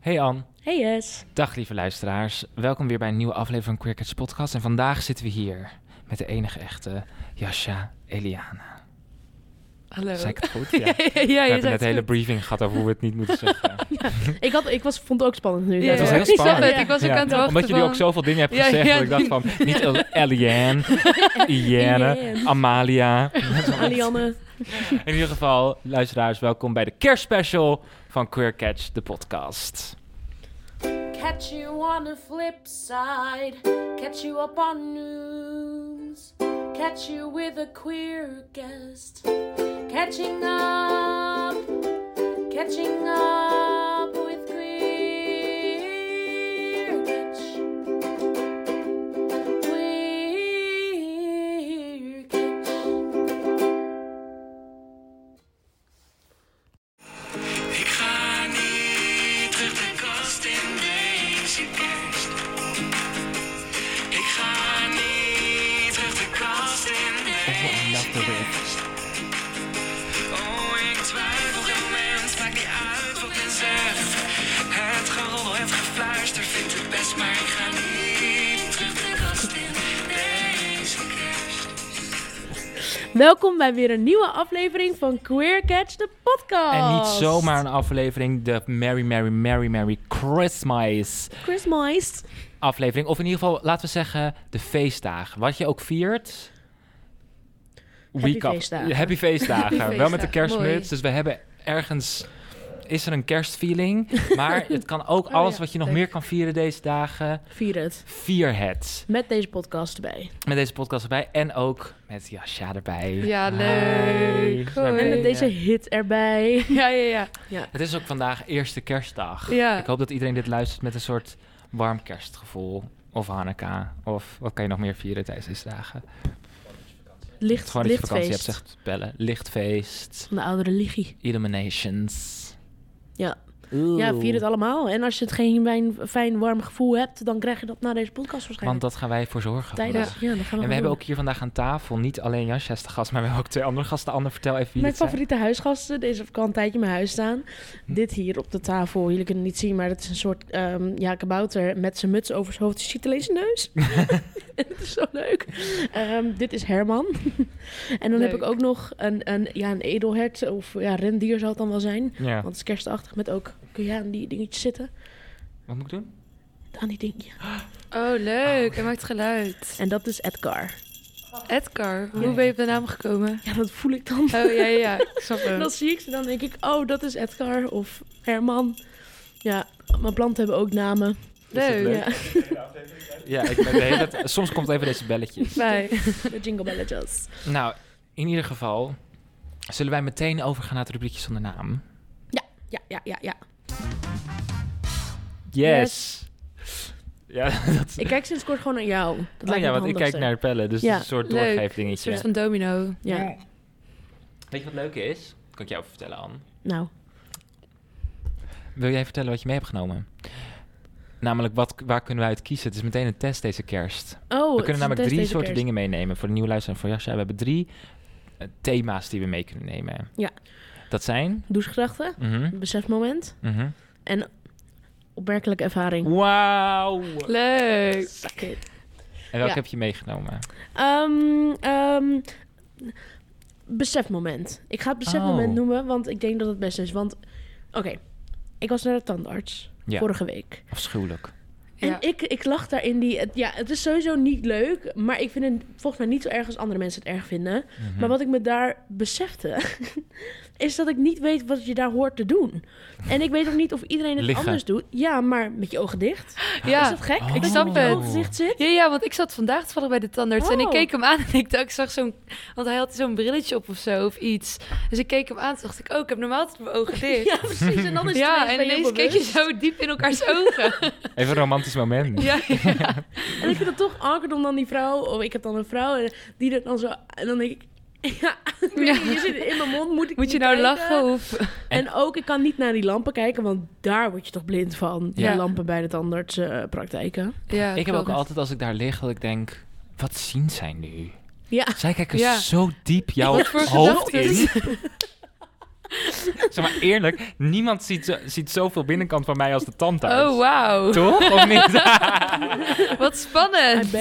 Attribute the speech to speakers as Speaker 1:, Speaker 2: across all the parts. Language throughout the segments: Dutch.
Speaker 1: Hey Ann,
Speaker 2: Hey Jess.
Speaker 1: dag lieve luisteraars. Welkom weer bij een nieuwe aflevering van Crickets Podcast. En vandaag zitten we hier met de enige echte Yasha Eliana.
Speaker 2: Hallo.
Speaker 1: Zeg ik het goed? Ja. we
Speaker 2: ja, je
Speaker 1: hebben
Speaker 2: zei
Speaker 1: net
Speaker 2: het
Speaker 1: een hele
Speaker 2: goed.
Speaker 1: briefing gehad over hoe we het niet moeten zeggen.
Speaker 3: Ik, had, ik was, vond het ook spannend nu.
Speaker 2: Ja,
Speaker 1: het was
Speaker 2: ja.
Speaker 1: heel
Speaker 2: Ik zag
Speaker 1: spannend.
Speaker 2: het, Ik was ook
Speaker 1: Ja,
Speaker 2: aan het wachten
Speaker 1: Omdat jullie
Speaker 2: van-
Speaker 1: ook zoveel dingen hebben
Speaker 2: Ja,
Speaker 1: gezegd,
Speaker 2: ja,
Speaker 1: dat ik dacht van, niet El- Eliane, Iane,
Speaker 3: Eliane.
Speaker 1: Amalia.
Speaker 3: Alianne.
Speaker 1: In ieder geval, luisteraars, welkom bij de kerstspecial van Queer Catch, de podcast.
Speaker 3: Catch you on the flip side. Catch you up on news. Catch you with a queer guest. Catching up. Catching up with queer catch. Queer catch.
Speaker 4: Ik ga niet terug de kast in deze kerst. Ik ga niet terug de kast in deze kerst. Oh, ik twijfel geen mens, maakt niet uit wat men zegt. Het geroddel, het gefluister vindt het best, maar ik ga niet terug de kast in deze kerst.
Speaker 3: Welkom bij weer een nieuwe aflevering van Queer Catch, de podcast.
Speaker 1: En niet zomaar een aflevering, de Merry, Merry, Merry, Merry Christmas
Speaker 3: Chris Moist.
Speaker 1: aflevering. Of in ieder geval, laten we zeggen, de feestdagen. Wat je ook viert.
Speaker 3: Happy
Speaker 1: week af-
Speaker 3: feestdagen.
Speaker 1: Happy feestdagen. Wel
Speaker 2: Happy
Speaker 1: met de
Speaker 2: feestdagen,
Speaker 1: kerstmuts.
Speaker 2: mooi.
Speaker 1: Dus we hebben ergens... Is er een kerstfeeling? Maar het kan ook
Speaker 3: Oh
Speaker 1: alles
Speaker 3: ja,
Speaker 1: wat je nog
Speaker 2: leuk.
Speaker 1: meer kan vieren deze dagen.
Speaker 3: Vier het.
Speaker 1: Vier het.
Speaker 3: Met deze podcast erbij.
Speaker 1: Met deze podcast erbij. En ook met Jascha erbij.
Speaker 2: Ja,
Speaker 1: Hi.
Speaker 2: leuk.
Speaker 1: We zijn
Speaker 2: Hoi.
Speaker 1: weer-
Speaker 3: En met deze hit erbij.
Speaker 2: Ja, ja, ja.
Speaker 1: Het is ook vandaag eerste kerstdag.
Speaker 2: Ja.
Speaker 1: Ik hoop dat iedereen dit luistert met een soort warm kerstgevoel. Of Hanukkah. Of wat kan je nog meer vieren tijdens deze dagen? Het
Speaker 3: Licht,
Speaker 1: gewoon dat je vakantie hebt,
Speaker 3: lichtfeest.
Speaker 1: zegt bellen. Lichtfeest.
Speaker 3: Van de oude religie.
Speaker 1: Illuminations.
Speaker 3: Ja.
Speaker 1: Oeh.
Speaker 3: ja, vier het allemaal. En als je het geen fijn, fijn warm gevoel hebt, dan krijg je dat na deze podcast
Speaker 1: Want
Speaker 3: waarschijnlijk.
Speaker 1: dat gaan wij voor zorgen.
Speaker 3: Tijdens.
Speaker 1: vandaag.
Speaker 3: Ja, dat gaan we
Speaker 1: En we
Speaker 3: gewoon
Speaker 1: hebben ook
Speaker 3: doen.
Speaker 1: hier vandaag aan tafel niet alleen Jasja is de gast, maar we hebben ook twee andere gasten. Anne, vertel even wie
Speaker 3: Mijn
Speaker 1: dit zijn.
Speaker 3: favoriete huisgasten. Deze heb ik al een tijdje in mijn huis staan. Dit hier op de tafel. Jullie kunnen het niet zien, maar dat is een soort ehm ja, kabouter met zijn muts over zijn hoofd. Je ziet alleen zijn neus. Het is zo leuk. Ehm, dit is Herman. en dan heb ik
Speaker 2: Leuk.
Speaker 3: ook nog een, een, ja, een edelhert of ja, rendier zal het dan wel zijn.
Speaker 1: Ja.
Speaker 3: Want het is kerstachtig met ook kun je aan die dingetjes zitten.
Speaker 1: Wat moet ik doen?
Speaker 3: Aan die dingetjes.
Speaker 2: Oh, leuk. Hij maakt geluid.
Speaker 3: En dat is Edgar.
Speaker 2: Edgar,
Speaker 1: Ja.
Speaker 2: hoe ben je op de naam gekomen?
Speaker 3: Ja, dat voel ik dan.
Speaker 2: Oh, ja, ja, ja. Ik snap
Speaker 3: En dan
Speaker 2: hem.
Speaker 3: zie ik ze, dan denk ik, oh, dat is Edgar of Herman. Ja, mijn planten hebben ook namen.
Speaker 2: Leuk.
Speaker 1: leuk?
Speaker 3: Ja,
Speaker 1: Ja, ik ben de hele tijd- Soms komt even deze belletje.
Speaker 2: Fijn.
Speaker 3: de jingle belletjes.
Speaker 1: Nou, in ieder geval zullen wij meteen overgaan naar het rubriekje zonder naam.
Speaker 3: Ja, ja, ja, ja.
Speaker 1: Yes. Ja, dat is.
Speaker 3: Ik kijk sinds kort gewoon naar jou. Dat
Speaker 1: Oh
Speaker 3: lijkt
Speaker 1: ja,
Speaker 3: me
Speaker 1: want ik kijk naar de pellen, dus
Speaker 3: Ja.
Speaker 1: het is een soort
Speaker 2: Leuk.
Speaker 1: doorgeefdingetje.
Speaker 2: Een soort van domino.
Speaker 3: Ja,
Speaker 1: Weet je wat leuk is? Kan ik jou even vertellen, Anne?
Speaker 3: nou.
Speaker 1: Wil jij vertellen wat je mee hebt genomen? Namelijk, wat, waar kunnen wij uit kiezen? Het is meteen een test deze kerst.
Speaker 3: Oh,
Speaker 1: we kunnen namelijk drie soorten dingen meenemen. Voor de nieuwe luisteraar en voor Jasja. We hebben drie eh, thema's die we mee kunnen nemen.
Speaker 3: Ja.
Speaker 1: Dat zijn...
Speaker 3: Douchegedachten,
Speaker 1: Mhm,
Speaker 3: besefmoment
Speaker 1: mhm.
Speaker 3: en opmerkelijke ervaring.
Speaker 1: Wauw!
Speaker 2: Leuk.
Speaker 3: Oké.
Speaker 1: En welke
Speaker 3: Ja.
Speaker 1: heb je meegenomen?
Speaker 3: Ehm, ehm, besefmoment. Ik ga het besefmoment
Speaker 1: Oh.
Speaker 3: noemen, want ik denk dat het best is. Want, oké, ik was naar de tandarts
Speaker 1: Ja.
Speaker 3: vorige week.
Speaker 1: Afschuwelijk.
Speaker 3: En
Speaker 2: Ja.
Speaker 3: ik, ik lach daar in die... Het, ja, het is sowieso niet leuk, maar ik vind het volgens mij niet zo erg als andere mensen het erg vinden.
Speaker 1: Mhm. Hm.
Speaker 3: Maar wat ik me daar besefte, is dat ik niet weet wat je daar hoort te doen. En ik weet ook niet of iedereen het
Speaker 1: Liggen.
Speaker 3: anders doet. Ja, maar met je ogen dicht. Is
Speaker 2: Ja.
Speaker 3: dat gek?
Speaker 1: Oh.
Speaker 3: Ik
Speaker 2: snap
Speaker 3: dat je
Speaker 2: het.
Speaker 3: ogen dicht zit.
Speaker 2: Ja, ja, want ik zat vandaag toevallig bij de tandarts en ik
Speaker 3: Oh.
Speaker 2: keek hem aan en ik dacht, ik zag zo'n... Want hij had zo'n brilletje op of zo, of iets. Dus ik keek hem aan en dacht ik, oh, ik heb normaal altijd mijn ogen dicht.
Speaker 3: Ja, precies. En dan is het
Speaker 2: Ja,
Speaker 3: ineens
Speaker 2: en
Speaker 3: ben je
Speaker 2: ineens keek je
Speaker 3: bewust.
Speaker 2: zo diep in elkaars ogen.
Speaker 1: Even een romantisch moment.
Speaker 2: Ja, ja.
Speaker 3: En ik vind het toch awkward om dan die vrouw... Oh, ik heb dan een vrouw en die dat dan zo... En dan denk ik... Ja, ik weet
Speaker 2: Ja.
Speaker 3: niet, je zit in mijn mond, moet ik
Speaker 2: Moet je
Speaker 3: niet
Speaker 2: nou
Speaker 3: kijken?
Speaker 2: lachen of...
Speaker 3: En ook, ik kan niet naar die lampen kijken, want daar word je toch blind van. Die
Speaker 2: Ja.
Speaker 3: lampen bij de eh, tandartspraktijken.
Speaker 2: Ja,
Speaker 1: Ik heb ook
Speaker 2: klopt.
Speaker 1: altijd als ik daar lig dat ik denk, wat zien zij nu?
Speaker 3: Ja.
Speaker 1: Zij kijken
Speaker 2: Ja.
Speaker 1: zo diep jouw
Speaker 2: Wat voor Oh,
Speaker 1: hoofd
Speaker 2: gedachten?
Speaker 1: in. Zeg maar eerlijk, niemand ziet, zo- ziet zoveel binnenkant van mij als de tandarts.
Speaker 2: Oh, wauw.
Speaker 1: Toch? Of niet?
Speaker 2: Wat spannend.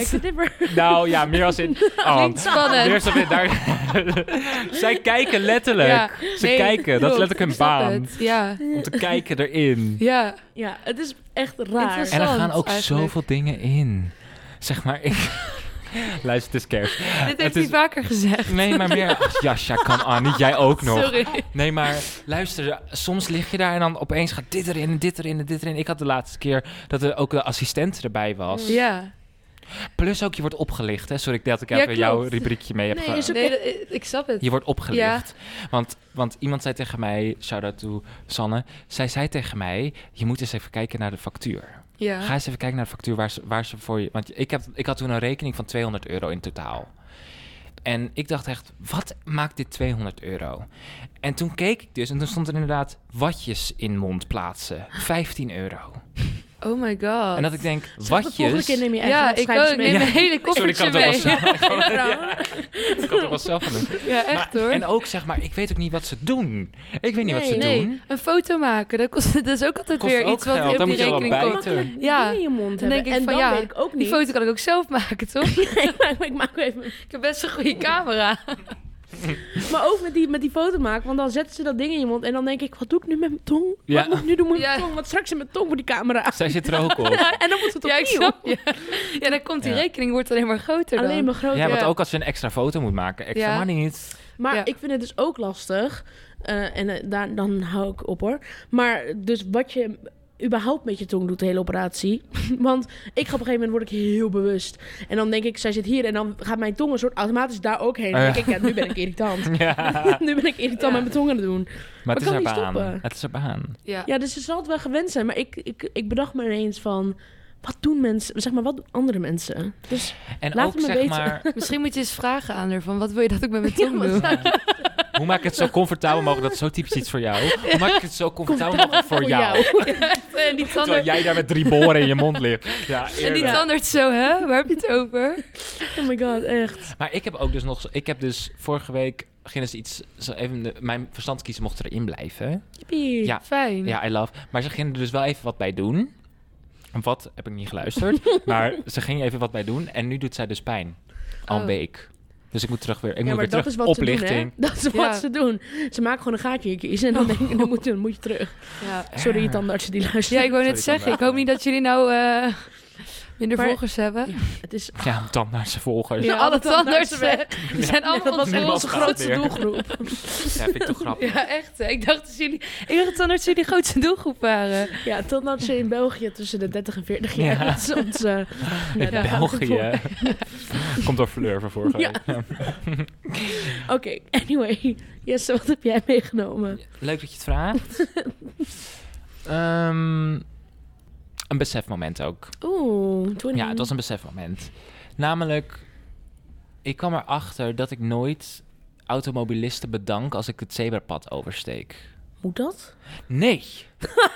Speaker 1: nou ja, meer als in... Oh,
Speaker 2: Klinkt spannend.
Speaker 1: meer als in daar... Zij kijken letterlijk.
Speaker 2: Ja,
Speaker 1: Ze
Speaker 2: nee,
Speaker 1: kijken, dat
Speaker 2: klopt.
Speaker 1: is letterlijk hun
Speaker 2: Ik snap
Speaker 1: baan.
Speaker 2: het, Ja,
Speaker 1: Om te kijken erin.
Speaker 2: ja.
Speaker 3: Ja, het is echt raar.
Speaker 2: Interessant.
Speaker 1: En er gaan ook
Speaker 2: eigenlijk.
Speaker 1: zoveel dingen in. Zeg maar, ik... Luister, het is kerst.
Speaker 2: Dit heeft
Speaker 1: is-
Speaker 2: hij vaker gezegd.
Speaker 1: Nee, maar meer... Ach, Jasja, kan aan. Niet jij ook nog.
Speaker 2: Sorry.
Speaker 1: Nee, maar luister, soms lig je daar en dan opeens gaat dit erin en dit erin en dit erin. Ik had de laatste keer dat er ook de assistent erbij was.
Speaker 2: Ja.
Speaker 1: Plus ook, je wordt opgelicht. Hè? Sorry dat ik
Speaker 2: Ja,
Speaker 1: even
Speaker 2: klopt.
Speaker 1: jouw rubriekje mee heb
Speaker 3: Nee,
Speaker 1: ge-
Speaker 3: is ook-
Speaker 2: Nee, dat- ik- ik snap het.
Speaker 1: Je wordt opgelicht. Want, want iemand zei tegen mij, shout-out to Sanne. Zij zei tegen mij, je moet eens even kijken naar de factuur. Ga
Speaker 2: Ja.
Speaker 1: eens even kijken naar de factuur waar ze, waar ze voor je... Want ik, heb, ik had toen een rekening van 200 euro in totaal. En ik dacht echt, wat maakt dit 200 euro? En toen keek ik dus en toen stond er inderdaad watjes in mond plaatsen. 15 euro.
Speaker 2: Oh my god.
Speaker 1: En dat ik denk,
Speaker 3: Zeg, de volgende
Speaker 1: watjes...
Speaker 3: keer neem je eigen
Speaker 2: ja, ik
Speaker 3: opschrijvers
Speaker 2: ook.
Speaker 3: mee.
Speaker 2: Neem
Speaker 1: Ja.
Speaker 2: een hele
Speaker 1: Sorry, ik kan
Speaker 2: koffertje
Speaker 1: het ook wel
Speaker 2: mee.
Speaker 1: zelf, ik kan het ook wel zelf gaan doen.
Speaker 2: Ja, echt
Speaker 1: Maar-
Speaker 2: hoor.
Speaker 1: En ook zeg maar, ik weet ook niet wat ze doen. Ik weet niet wat ze
Speaker 3: Nee,
Speaker 1: doen.
Speaker 2: Een foto maken, dat kost dat is ook altijd
Speaker 1: Kost
Speaker 2: weer
Speaker 1: ook
Speaker 2: iets wat
Speaker 1: geld,
Speaker 2: op
Speaker 1: dan
Speaker 2: die
Speaker 1: moet je wel
Speaker 2: rekening
Speaker 1: bij.
Speaker 2: komt.
Speaker 1: Beter.
Speaker 2: Ja.
Speaker 3: Dingen in je mond
Speaker 2: Dan
Speaker 3: hebben.
Speaker 2: denk ik
Speaker 3: en
Speaker 2: van
Speaker 3: dan
Speaker 2: ja,
Speaker 3: weet ik ook
Speaker 2: Die
Speaker 3: niet.
Speaker 2: foto kan ik ook zelf maken, toch?
Speaker 3: ik, maak, ik maak even.
Speaker 2: Ik heb best een goede camera.
Speaker 3: Maar ook met die, met die foto maken, want dan zetten ze dat ding in je mond. En dan denk ik, wat doe ik nu met mijn tong?
Speaker 1: Ja.
Speaker 3: Wat moet ik nu doen met
Speaker 2: Ja.
Speaker 3: mijn tong? Want straks in mijn tong voor die camera.
Speaker 1: Zij zit er ook op.
Speaker 3: En dan moet het
Speaker 2: Ja, ik
Speaker 3: opnieuw.
Speaker 2: snap je. Ja, dan komt die
Speaker 1: Ja.
Speaker 2: rekening, wordt alleen maar groter dan.
Speaker 3: Alleen maar groot.
Speaker 1: Ja, want
Speaker 2: Ja.
Speaker 1: ook als je een extra foto moet maken, extra
Speaker 2: Ja.
Speaker 1: maar niet.
Speaker 3: Maar
Speaker 2: Ja.
Speaker 3: ik vind het dus ook lastig. eh, en eh, daar, dan hou ik op hoor. Maar dus wat je überhaupt met je tong doet, de hele operatie. Want ik ga op een gegeven moment word ik heel bewust. En dan denk ik, zij zit hier. En dan gaat mijn tong een soort automatisch daar ook heen. En
Speaker 1: Ah, ja.
Speaker 3: dan denk ik, ja, nu ben ik irritant.
Speaker 1: Ja.
Speaker 3: nu ben ik irritant met mijn tong aan het doen.
Speaker 1: Maar het is
Speaker 3: kan
Speaker 1: haar
Speaker 3: niet
Speaker 1: baan.
Speaker 3: stoppen.
Speaker 1: Het is haar baan.
Speaker 2: Ja.
Speaker 3: Ja, dus ze zal het wel gewend zijn. Maar ik, ik, ik bedacht me ineens van... Wat doen mensen? Zeg maar, wat doen andere mensen? Dus
Speaker 1: En
Speaker 3: Laat
Speaker 1: ook
Speaker 3: het me
Speaker 1: zeg
Speaker 3: weten.
Speaker 1: maar,
Speaker 2: Misschien moet je eens vragen aan haar van wat wil je dat ik met mijn tong doe?
Speaker 1: hoe maak ik het zo comfortabel mogelijk? Dat is zo typisch iets voor jou. Hoe maak ik het zo comfortabel mogelijk voor jou?
Speaker 2: En die
Speaker 1: Terwijl
Speaker 2: tandarts,
Speaker 1: jij daar met drie boren in je mond ligt. Ja,
Speaker 2: en die
Speaker 1: eerlijk.
Speaker 2: tandarts zo, hè? Waar heb je het over?
Speaker 3: Oh my god, echt.
Speaker 1: Maar ik heb ook dus nog... Ik heb dus vorige week... Gingen ze iets... Zo even de- mijn verstand kiezen mocht erin blijven.
Speaker 3: Mm. Jippie.
Speaker 1: Ja.
Speaker 2: Fijn.
Speaker 1: Ja, I love. Maar ze gingen er dus wel even wat bij doen. Wat heb ik niet geluisterd. maar ze gingen even wat bij doen. En nu doet zij dus pijn. Al een
Speaker 2: Oh.
Speaker 1: week. Dus ik moet terug weer. Ik
Speaker 3: ja,
Speaker 1: moet
Speaker 3: maar
Speaker 1: weer
Speaker 3: dat
Speaker 1: terug.
Speaker 3: is wat ze doen,
Speaker 1: Oplichting.
Speaker 3: hè? Dat is wat
Speaker 2: Ja. Oh.
Speaker 3: ze doen. Ze maken gewoon een gaatje in je kies en dan denken, dan moet je, dan moet je terug.
Speaker 2: Ja.
Speaker 3: Sorry,
Speaker 1: Eh.
Speaker 3: je tandartsen die
Speaker 2: Ja,
Speaker 3: luisteren.
Speaker 2: ik wou net
Speaker 1: Sorry,
Speaker 2: zeggen, ik
Speaker 1: tandarts.
Speaker 2: hoop niet dat jullie nou eh, minder
Speaker 3: Maar-
Speaker 2: volgers hebben.
Speaker 3: Het is
Speaker 2: Oh,
Speaker 1: Ja, dan naar zijn volgers.
Speaker 3: Ja,
Speaker 1: Ja.
Speaker 2: Zijn alle
Speaker 3: alle tandartsen
Speaker 2: tandartsen weg. We zijn allemaal
Speaker 1: was
Speaker 2: onze
Speaker 1: niemand
Speaker 2: onze
Speaker 1: gaat
Speaker 2: grootste
Speaker 1: weer.
Speaker 2: doelgroep.
Speaker 1: vind ik toch grappig.
Speaker 2: Ja, echt. hè. Ik dacht dat jullie, ik dacht dat tandartsen jullie grootste doelgroep waren.
Speaker 3: ja, tandartsen in België tussen de 30 en 40 jaar.
Speaker 1: Ja.
Speaker 3: Dat is ons... eh,
Speaker 1: In
Speaker 3: nou, daar gaan we het voor.
Speaker 1: België. Komt door Fleur van vorige
Speaker 3: Ja.
Speaker 1: week.
Speaker 3: Oké, anyway. Jesse, wat heb jij meegenomen?
Speaker 1: Leuk dat je het vraagt. Ehm, een besefmoment ook.
Speaker 3: Oeh, 20.
Speaker 2: Mhm.
Speaker 1: Ja, het was een besefmoment. Namelijk, ik kwam erachter dat ik nooit automobilisten bedank als ik het zebrapad oversteek.
Speaker 3: Moet dat?
Speaker 1: Nee.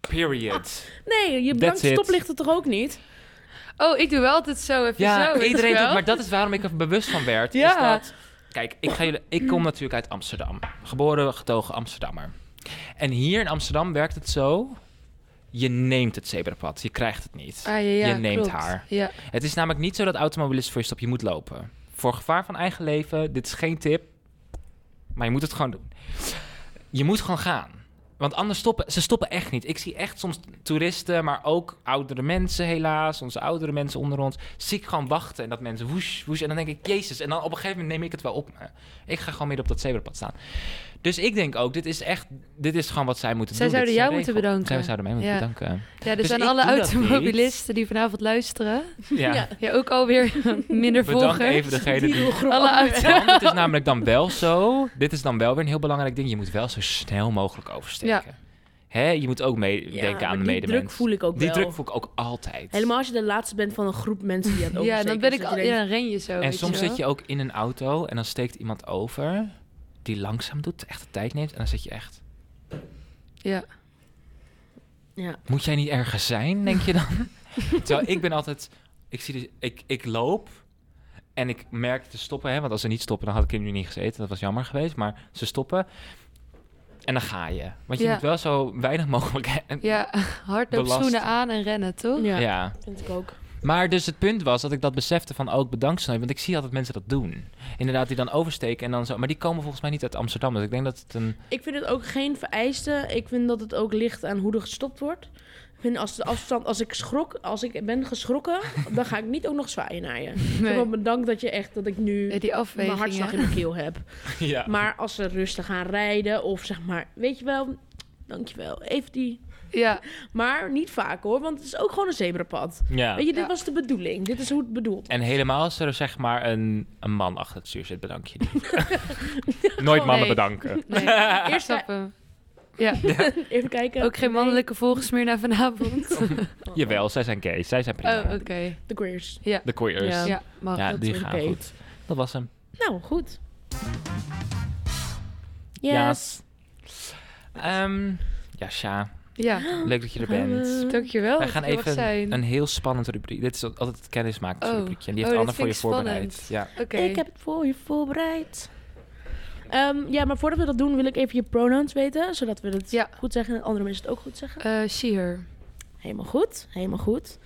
Speaker 1: Period.
Speaker 3: Nee, je
Speaker 1: That's
Speaker 3: bedankt
Speaker 1: it.
Speaker 3: stoplichten toch ook niet?
Speaker 2: Oh, ik doe wel altijd zo even zo.
Speaker 1: Ja,
Speaker 2: weet je
Speaker 1: iedereen doet,
Speaker 2: wel.
Speaker 1: maar dat is waarom ik er bewust van werd.
Speaker 2: Ja.
Speaker 1: Is dat, kijk, ik, ga jullie, ik kom natuurlijk uit Amsterdam. Geboren, getogen Amsterdammer. En hier in Amsterdam werkt het zo... Je neemt het zebrapad, je krijgt het niet.
Speaker 2: Ah, ja, ja,
Speaker 1: je neemt
Speaker 2: klopt.
Speaker 1: haar.
Speaker 2: Ja.
Speaker 1: Het is namelijk niet zo dat automobilisten voor je stop, je moet lopen. Voor gevaar van eigen leven, dit is geen tip, maar je moet het gewoon doen. Je moet gewoon gaan. Want anders stoppen, ze stoppen echt niet. Ik zie echt soms toeristen, maar ook oudere mensen helaas, onze oudere mensen onder ons, zie ik gewoon wachten en dat mensen woesh, woesh. En dan denk ik, jezus. En dan op een gegeven moment neem ik het wel op me. Ik ga gewoon midden op dat zebrapad staan. Dus ik denk ook, dit is echt, dit is gewoon wat zij moeten
Speaker 2: Zij
Speaker 1: doen. Dit
Speaker 2: zouden
Speaker 1: is een
Speaker 2: jou moeten
Speaker 1: regel.
Speaker 2: bedanken.
Speaker 1: Zij zouden mij moeten
Speaker 2: Ja.
Speaker 1: bedanken.
Speaker 2: ja, er
Speaker 1: Dus
Speaker 2: zijn
Speaker 1: ik
Speaker 2: alle
Speaker 1: doe dat niet.
Speaker 2: automobilisten die vanavond luisteren.
Speaker 1: Ja.
Speaker 3: Ja.
Speaker 2: Ja, ook alweer minder
Speaker 1: Bedank
Speaker 2: volgers.
Speaker 1: even degene die
Speaker 3: doelgroep.
Speaker 2: Alle auto.
Speaker 1: Want het is namelijk dan wel zo. Dit is dan wel weer een heel belangrijk ding. Je moet wel zo snel mogelijk oversteken. Hè, je moet ook
Speaker 3: Ja,
Speaker 1: meedenken
Speaker 3: maar
Speaker 1: aan de
Speaker 3: die
Speaker 1: medemens.
Speaker 3: druk voel ik ook
Speaker 1: Die
Speaker 3: wel.
Speaker 1: druk voel ik ook altijd.
Speaker 3: Helemaal als je de laatste bent van een groep mensen die aan het
Speaker 2: Ja,
Speaker 3: oversteken
Speaker 2: dan ben
Speaker 3: is,
Speaker 2: ik
Speaker 3: dat
Speaker 2: al,
Speaker 3: je denkt,
Speaker 2: ja, dan ren je zo. weet
Speaker 1: En soms
Speaker 2: wel.
Speaker 1: zit je ook in een auto en dan steekt iemand over die langzaam doet, echt de tijd neemt. En dan zit je echt.
Speaker 2: Ja.
Speaker 3: ja.
Speaker 1: Moet jij niet ergens zijn, denk je dan? Terwijl ik ben altijd. Ik, zie de- ik, ik loop en ik merk te stoppen. Hè, want als ze niet stoppen, dan had ik hier nu niet gezeten. Dat was jammer geweest. Maar ze stoppen. En dan ga je. Want je
Speaker 2: Ja.
Speaker 1: moet wel zo weinig mogelijk...
Speaker 2: Ja, hardloopschoenen
Speaker 1: Belast.
Speaker 2: aan en rennen, toch?
Speaker 1: Ja.
Speaker 3: ja, vind ik ook.
Speaker 1: Maar dus het punt was dat ik dat besefte van ook bedankt Snowden. Want ik zie altijd mensen dat doen. Inderdaad, die dan oversteken en dan zo. Maar die komen volgens mij niet uit Amsterdam. Dus ik denk dat het een...
Speaker 3: Ik vind het ook geen vereiste. Ik vind dat het ook ligt aan hoe er gestopt wordt. Ik vind als de afstand, als ik schrok, als ik ben geschrokken, dan ga ik niet ook nog zwaaien naar je. Ik
Speaker 2: Nee.
Speaker 3: heb wel bedankt dat je echt, dat ik nu
Speaker 2: Ja, die
Speaker 3: mijn
Speaker 2: afwegingen.
Speaker 3: hartslag in mijn keel heb.
Speaker 1: Ja.
Speaker 3: Maar als ze rustig gaan rijden of zeg maar, weet je wel, dankjewel, even die.
Speaker 2: Ja,
Speaker 3: Maar niet vaak hoor, want het is ook gewoon een zebrapad.
Speaker 1: ja.
Speaker 3: Weet je, dit
Speaker 2: Ja.
Speaker 3: was de bedoeling. Dit is hoe het bedoeld.
Speaker 1: En helemaal als er zeg maar een, een man achter het stuur zit, bedank je niet. Nooit mannen
Speaker 2: Nee.
Speaker 1: bedanken.
Speaker 2: nee.
Speaker 3: Eerst-
Speaker 2: Eerst stappen. Ja,
Speaker 3: Even kijken.
Speaker 2: ook geen mannelijke volgers meer naar vanavond. Oh,
Speaker 1: Jawel, zij zijn gay. Zij zijn prima.
Speaker 2: oké.
Speaker 3: Nee, De queers.
Speaker 1: De queers.
Speaker 3: Ja.
Speaker 1: Ja,
Speaker 2: Ja, mag.
Speaker 3: dat
Speaker 1: die
Speaker 3: is
Speaker 1: gaan
Speaker 3: oké.
Speaker 1: goed. Dat was hem.
Speaker 3: Nou, goed.
Speaker 1: Ja.
Speaker 3: Yes.
Speaker 1: Ehm ja, Sja.
Speaker 2: Ja,
Speaker 1: Leuk dat je er bent.
Speaker 2: dankjewel.
Speaker 1: Wij
Speaker 2: dat
Speaker 1: gaan
Speaker 2: je er Oh, mag
Speaker 1: even
Speaker 2: zijn.
Speaker 1: een heel spannend rubriek. Dit is altijd het kennismakingsrubriekje. En die
Speaker 2: Oh,
Speaker 1: heeft Anne
Speaker 2: oh, dit
Speaker 1: voor je
Speaker 2: vind ik
Speaker 1: voorbereid.
Speaker 2: spannend.
Speaker 1: Ja.
Speaker 2: Oké.
Speaker 3: Ik heb het voor je voorbereid. Ehm, ja, maar voordat we dat doen, wil ik even je pronouns weten. Zodat we het
Speaker 2: Ja.
Speaker 3: goed zeggen en andere mensen het ook goed zeggen.
Speaker 2: Eh, she, her.
Speaker 1: Oh,
Speaker 3: Helemaal goed. Helemaal goed.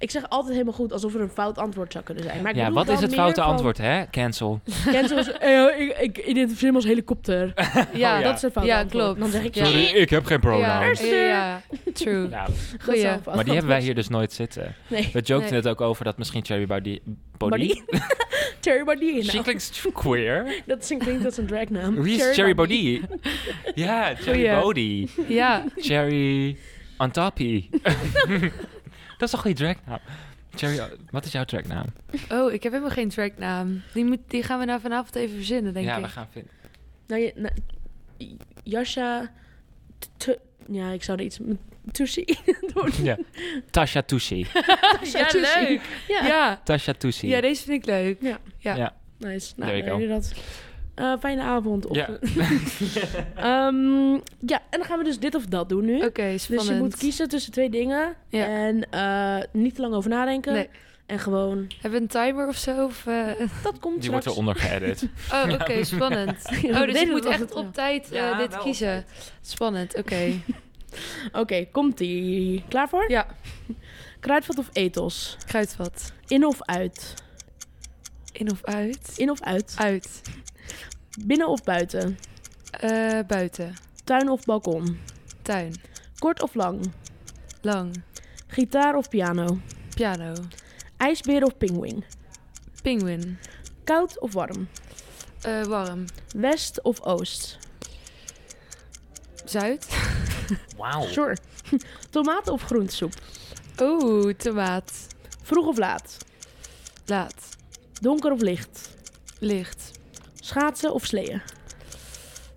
Speaker 3: Ik zeg altijd helemaal goed, alsof er een fout antwoord zou kunnen zijn. Maar ik
Speaker 1: ja,
Speaker 3: bedoel
Speaker 1: wat
Speaker 3: dan
Speaker 1: is het
Speaker 3: meer
Speaker 1: foute
Speaker 3: van-
Speaker 1: antwoord, hè? Cancel.
Speaker 3: Ken zoals, eh, ik, ik identificeer me als helikopter.
Speaker 2: Ja,
Speaker 3: Dat is een fout
Speaker 2: Ja,
Speaker 3: antwoord.
Speaker 2: klopt.
Speaker 3: Dan zeg ik
Speaker 2: Ja.
Speaker 3: ja.
Speaker 1: ik heb geen
Speaker 2: Ja,
Speaker 3: pronouns.
Speaker 2: ja, ja. true.
Speaker 1: Ja,
Speaker 3: dat
Speaker 2: Goeie.
Speaker 3: is wel een fout
Speaker 1: maar die hebben wij
Speaker 3: antwoord.
Speaker 1: hier dus nooit zitten.
Speaker 3: Nee.
Speaker 1: We jokten
Speaker 2: Nee.
Speaker 1: het ook over dat misschien Cherry Body... Body?
Speaker 3: Body? Cherry Body.
Speaker 1: She
Speaker 3: Nou,
Speaker 1: klinkt queer.
Speaker 3: dat is een klinkt, dat is een dragnaam.
Speaker 1: Wie is Cherry Body? Ja, Cherry
Speaker 2: Goeie.
Speaker 1: Body.
Speaker 2: Ja,
Speaker 1: Cherry on toppie. Dat is toch een goede dragnaam? Cherry, wat is jouw dragnaam?
Speaker 2: oh, ik heb helemaal geen tracknaam. Die, moet, die gaan we nou vanavond even verzinnen, denk
Speaker 1: Ja,
Speaker 2: ik.
Speaker 1: we gaan vinden.
Speaker 3: Nou, je- nou, Jasha... T- t- ja, ik zou er iets met Tussie doen.
Speaker 1: Ja. Tasha Tushi.
Speaker 2: Ja, leuk.
Speaker 3: Ja.
Speaker 2: Ja.
Speaker 1: Tasha Tushi.
Speaker 2: ja, deze vind ik leuk.
Speaker 3: Ja.
Speaker 2: Ja.
Speaker 1: Ja.
Speaker 3: Nice. Nou,
Speaker 1: There you
Speaker 3: dan
Speaker 1: go.
Speaker 3: hebben jullie dat. Eh, fijne avond. Of,
Speaker 1: Ja.
Speaker 3: Ehm, ja, en dan gaan we dus dit of dat doen nu.
Speaker 2: Oké,
Speaker 3: Dus
Speaker 2: spannend.
Speaker 3: je moet kiezen tussen twee dingen.
Speaker 2: Ja.
Speaker 3: En eh, niet te lang over nadenken.
Speaker 2: Nee.
Speaker 3: En gewoon,
Speaker 2: Hebben we een timer of zo? Of, eh,
Speaker 3: dat komt
Speaker 1: Die
Speaker 3: straks.
Speaker 1: wordt eronder geëdit.
Speaker 2: Oh, oké, spannend.
Speaker 3: Ja,
Speaker 2: Oh,
Speaker 3: we
Speaker 2: dus je
Speaker 3: deden
Speaker 2: moet
Speaker 3: het
Speaker 2: echt
Speaker 3: altijd, ja.
Speaker 2: op tijd eh,
Speaker 1: Ja,
Speaker 2: dit
Speaker 1: wel op
Speaker 2: kiezen. Spannend, oké.
Speaker 3: Oké, komt-ie. Klaar voor?
Speaker 2: ja,
Speaker 3: Kruidvat of ethos?
Speaker 2: kruidvat.
Speaker 3: In of uit?
Speaker 2: In of uit?
Speaker 3: In of uit?
Speaker 2: Uit.
Speaker 3: Binnen of buiten?
Speaker 2: Eh, buiten.
Speaker 3: Tuin of balkon?
Speaker 2: Tuin.
Speaker 3: Kort of lang?
Speaker 2: Lang.
Speaker 3: Gitaar of piano?
Speaker 2: Piano.
Speaker 3: IJsbeer of pinguïn?
Speaker 2: Penguin.
Speaker 3: Koud of warm?
Speaker 2: Eh, warm.
Speaker 3: West of oost?
Speaker 2: Zuid.
Speaker 1: Wauw.
Speaker 3: Sure. Tomaat of groentesoep?
Speaker 2: Oeh, tomaat.
Speaker 3: Vroeg of laat?
Speaker 2: Laat.
Speaker 3: Donker of licht?
Speaker 2: Licht.
Speaker 3: Schaatsen of sleeën?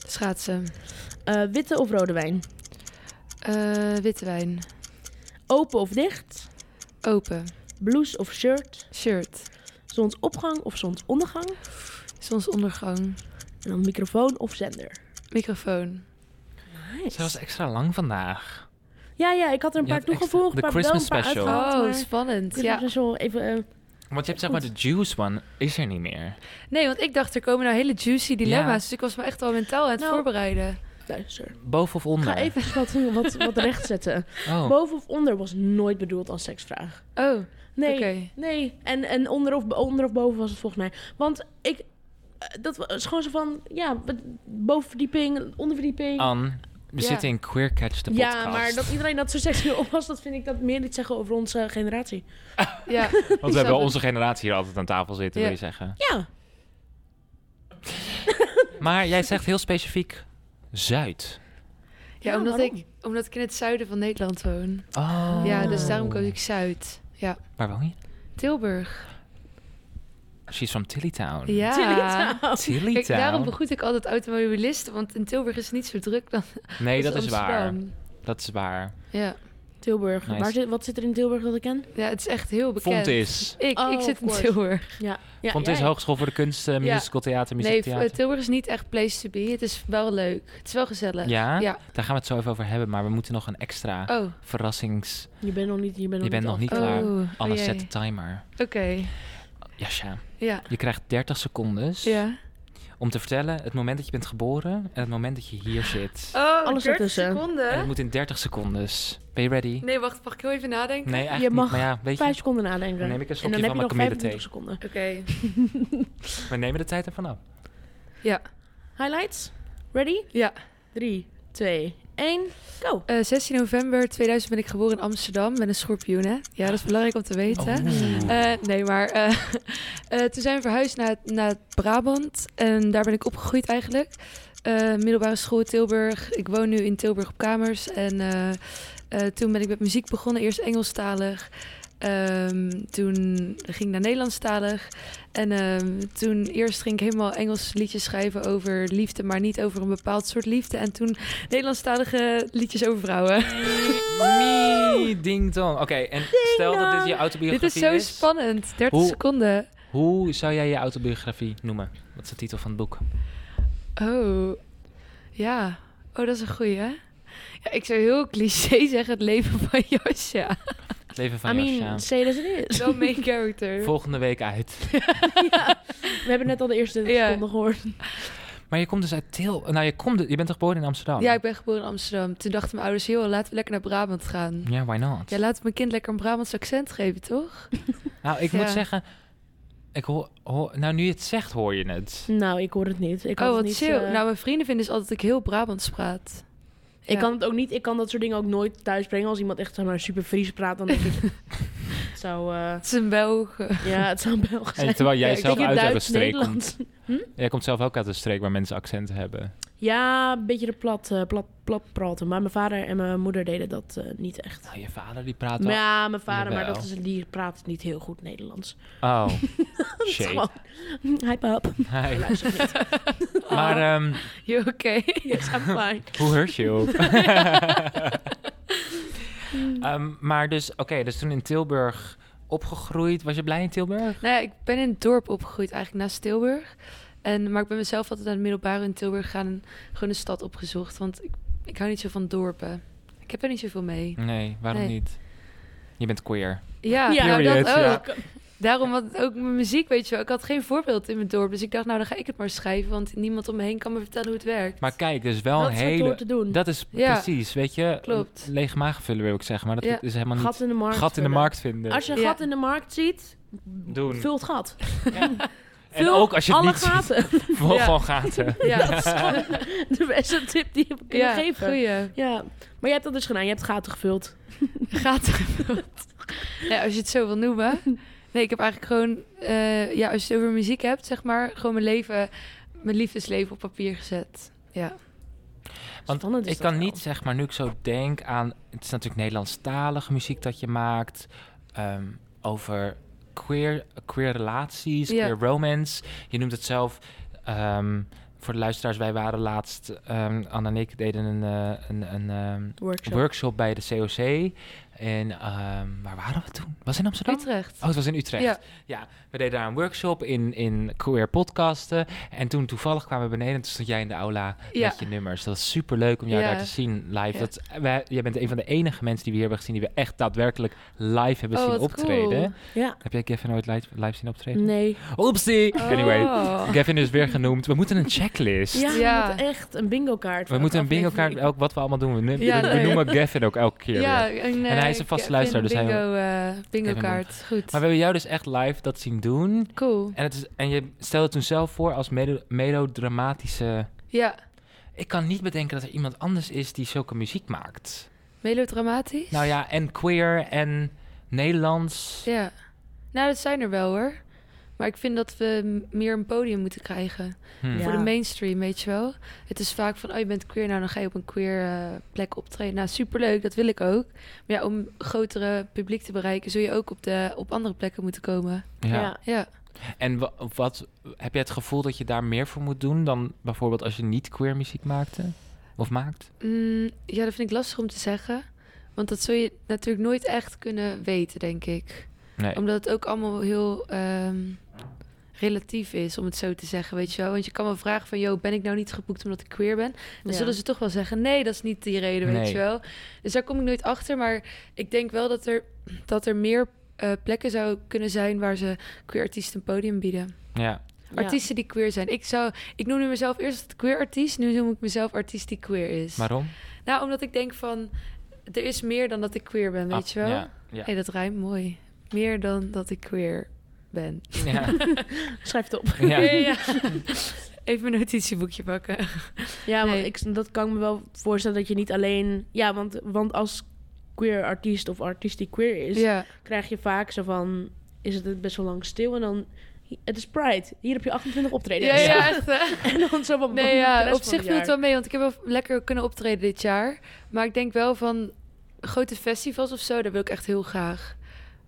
Speaker 2: Schaatsen.
Speaker 3: Eh, witte of rode wijn?
Speaker 2: Eh, witte wijn.
Speaker 3: Open of dicht?
Speaker 2: Open.
Speaker 3: Blouse of shirt?
Speaker 2: Shirt.
Speaker 3: Zonsopgang of zonsondergang?
Speaker 2: Zonsondergang.
Speaker 3: En dan microfoon of zender?
Speaker 2: Microfoon.
Speaker 1: Ze was extra lang vandaag.
Speaker 3: Ja, ja, ik had er een
Speaker 1: Je
Speaker 3: paar
Speaker 1: hebt extra-
Speaker 3: toegevoegd,
Speaker 1: de
Speaker 3: maar
Speaker 1: Christmas
Speaker 3: wel een paar
Speaker 1: special.
Speaker 3: uitgehaald.
Speaker 2: Oh,
Speaker 3: maar-
Speaker 2: spannend.
Speaker 3: Christmas
Speaker 2: Ja.
Speaker 3: special, even... eh,
Speaker 1: Want je hebt zeg maar de juice one is er niet meer.
Speaker 2: Nee, want ik dacht er komen nou hele juicy dilemma's. Dus ik was me echt al mentaal aan het
Speaker 3: Nou.
Speaker 2: voorbereiden.
Speaker 3: luister.
Speaker 1: Boven of onder?
Speaker 3: Ga even wat, wat, wat rechtzetten.
Speaker 1: Nou. Oh.
Speaker 3: Boven of onder was nooit bedoeld als seksvraag.
Speaker 2: Oh,
Speaker 3: Nee,
Speaker 2: Oké.
Speaker 3: nee. En, en onder, of, onder of boven was het volgens mij. Want ik... eh, Dat was gewoon zo van, ja, bovenverdieping, onderverdieping.
Speaker 1: Anne, we
Speaker 3: Ja.
Speaker 1: zitten in Queer Catch, Oh, de podcast.
Speaker 3: ja, maar dat iedereen dat zo seksueel was, dat vind ik dat meer iets zeggen over onze generatie.
Speaker 2: ja.
Speaker 1: Want we hebben wel onze generatie hier altijd aan tafel zitten,
Speaker 2: Ja.
Speaker 1: wil je zeggen.
Speaker 3: Ja,
Speaker 1: Maar jij zegt heel specifiek Zuid.
Speaker 2: Ja,
Speaker 3: Ja,
Speaker 2: omdat,
Speaker 3: waarom?
Speaker 2: ik, omdat ik in het zuiden van Nederland woon.
Speaker 1: Oh.
Speaker 2: Ja, dus daarom koos ik Zuid. Ja.
Speaker 1: Waar woon je?
Speaker 2: Tilburg.
Speaker 1: She's from Tillytown.
Speaker 2: Ja.
Speaker 3: Tilly Town.
Speaker 1: Tillytown?
Speaker 2: Kijk, daarom begroet ik altijd automobilisten, want in Tilburg is het niet zo druk dan
Speaker 1: nee, dat
Speaker 2: als
Speaker 1: is waar.
Speaker 2: Dus Amsterdam.
Speaker 1: Dat is waar.
Speaker 2: Ja.
Speaker 3: Tilburg.
Speaker 1: Nice.
Speaker 3: Waar zit, wat zit er in Tilburg dat ik ken?
Speaker 2: ja, het is echt heel bekend.
Speaker 1: Font is.
Speaker 2: Ik,
Speaker 3: Oh,
Speaker 2: ik
Speaker 3: of
Speaker 2: zit in
Speaker 3: course.
Speaker 2: Tilburg.
Speaker 3: Ja. ja
Speaker 1: Font
Speaker 3: jij.
Speaker 1: is Hogeschool voor de Kunsten,
Speaker 2: Ja.
Speaker 1: Musical Theater,
Speaker 2: Nee, eh,
Speaker 1: Muziektheater.
Speaker 2: Tilburg is niet echt place to be. Het is wel leuk. Het is wel gezellig.
Speaker 1: ja?
Speaker 2: eh, Ja.
Speaker 1: daar gaan we het zo even over hebben, maar we moeten nog een extra
Speaker 2: Oh,
Speaker 1: verrassings...
Speaker 3: Je bent nog niet, je bent
Speaker 1: Je
Speaker 3: nog
Speaker 1: bent nog niet
Speaker 3: af. Eh,
Speaker 1: klaar.
Speaker 2: oh.
Speaker 1: Anne,
Speaker 2: oh, jee.
Speaker 1: zet de timer.
Speaker 2: Oké.
Speaker 1: Jasja,
Speaker 2: Ja.
Speaker 1: je krijgt 30 secondes
Speaker 2: Ja.
Speaker 1: om te vertellen het moment dat je bent geboren en het moment dat je hier zit.
Speaker 2: Oh,
Speaker 3: Alles
Speaker 2: 30
Speaker 3: ertussen.
Speaker 1: En het
Speaker 2: seconden?
Speaker 1: moet in 30 seconden. Ben je ready?
Speaker 2: Nee, wacht, mag ik heel even nadenken?
Speaker 1: Nee, eigenlijk
Speaker 3: Je mag
Speaker 1: niet. Maar ja, weet je,
Speaker 3: Vijf seconden nadenken.
Speaker 1: Dan neem ik een
Speaker 3: en
Speaker 1: slokje
Speaker 3: dan
Speaker 1: van
Speaker 3: heb je
Speaker 1: mijn
Speaker 3: nog
Speaker 1: kamille
Speaker 3: 25 seconden.
Speaker 2: Oké.
Speaker 1: we nemen de tijd ervan af.
Speaker 2: Ja,
Speaker 3: Highlights? Ready?
Speaker 2: ja.
Speaker 3: 3, 2, 1, go.
Speaker 2: Eh, 16 november 2000 ben ik geboren in Amsterdam met een schorpioen. Hè? Ja, dat is belangrijk om te
Speaker 1: Oh,
Speaker 2: weten. Eh, nee, maar eh, eh, toen zijn we verhuisd naar, naar Brabant. En daar ben ik opgegroeid eigenlijk. Eh, middelbare school Tilburg. Ik woon nu in Tilburg op kamers. En eh, eh, toen ben ik met muziek begonnen. Eerst Engelstalig. Ehm, toen ging ik naar Nederlandstalig. En ehm, toen eerst ging ik helemaal Engels liedjes schrijven over liefde, maar niet over een bepaald soort liefde. En toen Nederlandstalige liedjes over vrouwen.
Speaker 1: Mie, ding dong. Oké, en stel dat dit je
Speaker 2: Dit
Speaker 1: autobiografie
Speaker 2: is
Speaker 1: is.
Speaker 2: zo spannend. 30
Speaker 1: Hoe-
Speaker 2: seconden.
Speaker 1: Hoe zou jij je autobiografie noemen? Wat is de titel van het boek?
Speaker 2: Oh, ja. Oh, dat is een goeie, hè? Ja, ik zou heel cliché zeggen het leven van Josja.
Speaker 1: Het leven
Speaker 3: I
Speaker 1: van Josja.
Speaker 3: mean, say this it is.
Speaker 2: Wel main character.
Speaker 1: Volgende week uit.
Speaker 3: We hebben net al de eerste
Speaker 2: Ja.
Speaker 3: seconde gehoord.
Speaker 1: Maar je komt dus uit Til... Nou, je, komt, je bent toch geboren in Amsterdam?
Speaker 2: Ja, ik ben geboren in Amsterdam. Toen dachten mijn ouders, joh, laten we lekker naar Brabant gaan.
Speaker 1: Ja, why not?
Speaker 2: Ja, laat mijn kind lekker een Brabants accent geven, toch? Oh,
Speaker 1: nou, ik
Speaker 2: Ja.
Speaker 1: moet zeggen... Ik hoor, hoor- nou, nu je het zegt, hoor je het.
Speaker 3: Nou, ik hoor het niet. Ik had
Speaker 2: oh,
Speaker 3: het
Speaker 2: wat
Speaker 3: niet,
Speaker 2: chill.
Speaker 3: eh,
Speaker 2: Nou, mijn vrienden vinden dus altijd dat ik heel Brabants praat.
Speaker 3: ik
Speaker 2: ja.
Speaker 3: kan het ook niet. Ik kan dat soort dingen ook nooit thuis brengen. Als iemand echt zeg maar, super Fries praat, dan denk ik... het zou... eh,
Speaker 2: Het is een Belgen.
Speaker 3: ja, het zou Belgisch zijn.
Speaker 1: En terwijl jij
Speaker 2: Ja, ik
Speaker 1: zelf
Speaker 3: Beetje
Speaker 1: uit
Speaker 3: Duits,
Speaker 1: een streek komt.
Speaker 3: Nederlands.
Speaker 2: Hm?
Speaker 1: Jij komt zelf ook uit een streek waar mensen accenten hebben.
Speaker 3: Ja, een beetje de plat, eh, plat, plat praten. Maar mijn vader en mijn moeder deden dat eh, niet echt.
Speaker 1: Nou, je vader die praat wel...
Speaker 3: Maar ja, mijn vader, maar
Speaker 1: Jawel.
Speaker 3: dat is, die praat niet heel goed Nederlands.
Speaker 1: Oh, shit.
Speaker 3: Gewoon, Hi, pap.
Speaker 1: Hi.
Speaker 3: Luister niet.
Speaker 1: Maar ehm,
Speaker 2: Je oké?
Speaker 3: Yes, I'm fine.
Speaker 1: hoe hurt je op? Ehm, maar dus, oké, dus toen in Tilburg opgegroeid. Was je blij in Tilburg?
Speaker 2: Nou ja, ik ben in het dorp opgegroeid, eigenlijk naast Tilburg. En, maar ik ben mezelf altijd naar de middelbare in Tilburg gaan en gewoon een stad opgezocht. Want ik, ik hou niet zo van dorpen. Ik heb er niet zoveel mee.
Speaker 1: Nee, waarom
Speaker 2: Nee.
Speaker 1: niet? Je bent queer.
Speaker 2: Ja,
Speaker 3: Ja.
Speaker 2: nou, dat
Speaker 1: Period,
Speaker 2: ook.
Speaker 1: ja.
Speaker 2: Daarom had ook mijn muziek, weet je wel. Ik had geen voorbeeld in mijn dorp. Dus ik dacht, nou, dan ga ik het maar schrijven. Want niemand om me heen kan me vertellen hoe het werkt.
Speaker 1: Maar kijk, dus wel
Speaker 3: dat
Speaker 1: een
Speaker 3: is wat door
Speaker 1: hele...
Speaker 3: te doen.
Speaker 1: Dat is
Speaker 2: Ja.
Speaker 1: precies, weet je?
Speaker 2: Klopt.
Speaker 1: Lege maag vullen wil ik zeggen, maar dat
Speaker 2: Ja.
Speaker 1: is helemaal niet...
Speaker 3: gat in de markt.
Speaker 1: gat in de
Speaker 3: vullen.
Speaker 1: markt vinden.
Speaker 3: Als je een
Speaker 2: Ja.
Speaker 3: gat in de markt ziet,
Speaker 1: Doen.
Speaker 3: vul het gat.
Speaker 1: en
Speaker 3: vul
Speaker 1: ook als je het
Speaker 3: alle
Speaker 1: niet ziet,
Speaker 3: gaten.
Speaker 1: vol
Speaker 2: Ja.
Speaker 1: van gaten.
Speaker 2: ja,
Speaker 3: Dat is gewoon de beste tip die je me kunnen
Speaker 2: ja,
Speaker 3: geven.
Speaker 2: goeie.
Speaker 3: Ja, maar jij hebt dat dus gedaan. Je hebt gaten gevuld.
Speaker 2: Gaten gevuld. ja, als je het zo wil noemen. Nee, ik heb eigenlijk gewoon... eh, ja, als je het over muziek hebt, zeg maar... Gewoon mijn leven, mijn liefdesleven op papier gezet. Ja.
Speaker 1: Want
Speaker 3: Spannend is
Speaker 1: ik
Speaker 3: dat
Speaker 1: kan
Speaker 3: wel.
Speaker 1: niet, zeg maar, nu ik zo denk aan... Het is natuurlijk Nederlandstalige muziek dat je maakt. ehm, over queer, queer relaties,
Speaker 2: Ja.
Speaker 1: queer romance. Je noemt het zelf... ehm, voor de luisteraars, wij waren laatst... ehm Anne en ik deden een, eh, een, een ehm,
Speaker 3: Workshop.
Speaker 1: workshop bij de COC. En ehm, waar waren we toen? Was het in Amsterdam?
Speaker 2: Utrecht.
Speaker 1: Oh, het was in Utrecht.
Speaker 2: Ja.
Speaker 1: We deden daar een workshop in, in queer podcasten. En toen toevallig kwamen we beneden en toen stond jij in de aula
Speaker 2: Ja.
Speaker 1: met je nummers. Dat was super leuk om jou
Speaker 2: Ja.
Speaker 1: daar te zien live.
Speaker 2: Ja.
Speaker 1: Dat, wij, jij bent een van de enige mensen die we hier hebben gezien... die we echt daadwerkelijk live hebben
Speaker 2: Oh,
Speaker 1: zien
Speaker 2: wat
Speaker 1: optreden.
Speaker 2: cool.
Speaker 3: Ja.
Speaker 1: Heb jij Kevin ooit live, live zien optreden? Oh,
Speaker 3: Nee.
Speaker 1: Oepsie! Anyway,
Speaker 2: Oh.
Speaker 1: Kevin is weer genoemd. We moeten een checklist.
Speaker 3: Ja,
Speaker 2: Ja.
Speaker 3: we moeten echt een bingo kaart.
Speaker 1: We moeten een bingo kaart, elk, wat we allemaal doen. We, noemen-
Speaker 2: Ja,
Speaker 1: we
Speaker 2: nee.
Speaker 1: noemen Gavin ook elke keer weer.
Speaker 2: Ja, eh, en,
Speaker 1: En hij is een vaste luisteraar, dus hij-
Speaker 2: bingo, eh, bingo
Speaker 1: Kevin
Speaker 2: kaart. Goed.
Speaker 1: Maar we hebben jou dus echt live dat zien doen.
Speaker 2: Cool.
Speaker 1: En, het is, en je stelde toen zelf voor als melo- melodramatische...
Speaker 2: Ja,
Speaker 1: Ik kan niet bedenken dat er iemand anders is die zulke muziek maakt.
Speaker 2: melodramatisch.
Speaker 1: Nou ja, en queer en Nederlands.
Speaker 2: Ja. Nou, dat zijn er wel hoor. Maar ik vind dat we m- meer een podium moeten krijgen.
Speaker 1: Hm.
Speaker 3: Ja.
Speaker 2: Voor de mainstream, weet je wel. Het is vaak van, oh je bent queer, nou dan ga je op een queer eh, plek optreden. Nou, superleuk, dat wil ik ook. Maar ja, om grotere publiek te bereiken, zul je ook op, de, op andere plekken moeten komen.
Speaker 1: Ja.
Speaker 3: Ja.
Speaker 2: Ja.
Speaker 1: En wa- wat, heb jij het gevoel dat je daar meer voor moet doen dan bijvoorbeeld als je niet queer muziek maakte? Of maakt?
Speaker 2: Mm, ja, dat vind ik lastig om te zeggen. Want dat zul je natuurlijk nooit echt kunnen weten, denk ik.
Speaker 1: Nee.
Speaker 2: Omdat het ook allemaal heel ehm, relatief is, om het zo te zeggen, weet je wel. Want je kan wel vragen van, yo, ben ik nou niet geboekt omdat ik queer ben? Dan
Speaker 3: Ja.
Speaker 2: zullen ze toch wel zeggen, nee, dat is niet die reden, weet
Speaker 1: Nee.
Speaker 2: je wel. Dus daar kom ik nooit achter. Maar ik denk wel dat er, dat er meer eh, plekken zou kunnen zijn waar ze queer artiesten een podium bieden.
Speaker 1: Ja.
Speaker 3: Ja.
Speaker 2: Artiesten die queer zijn. Ik, zou, ik noemde mezelf eerst het queer artiest. Nu noem ik mezelf artiest die queer is.
Speaker 1: Waarom?
Speaker 2: Nou, omdat ik denk van... Er is meer dan dat ik queer ben, weet
Speaker 1: Ah,
Speaker 2: je wel?
Speaker 1: Ja. ja.
Speaker 2: hey, dat rijmt mooi. Meer dan dat ik queer ben.
Speaker 1: Ja.
Speaker 3: Schrijf het op.
Speaker 1: Ja.
Speaker 2: Even mijn notitieboekje pakken.
Speaker 3: Ja,
Speaker 2: Nee.
Speaker 3: want ik, dat kan ik me wel voorstellen dat je niet alleen... Ja, want, want als queer artiest of artiest die queer is...
Speaker 2: Ja.
Speaker 3: krijg je vaak zo van... Is het best wel lang stil en dan... Het is Pride. Hier heb je 28
Speaker 2: Ja,
Speaker 3: optredens.
Speaker 2: ja, echt hè?
Speaker 3: En dan zo van...
Speaker 2: Nee,
Speaker 3: de
Speaker 2: ja,
Speaker 3: rest
Speaker 2: op
Speaker 3: van
Speaker 2: zich
Speaker 3: het
Speaker 2: viel
Speaker 3: jaar.
Speaker 2: het wel mee, want ik heb wel lekker kunnen optreden dit jaar. Maar ik denk wel van grote festivals of zo, daar wil ik echt heel graag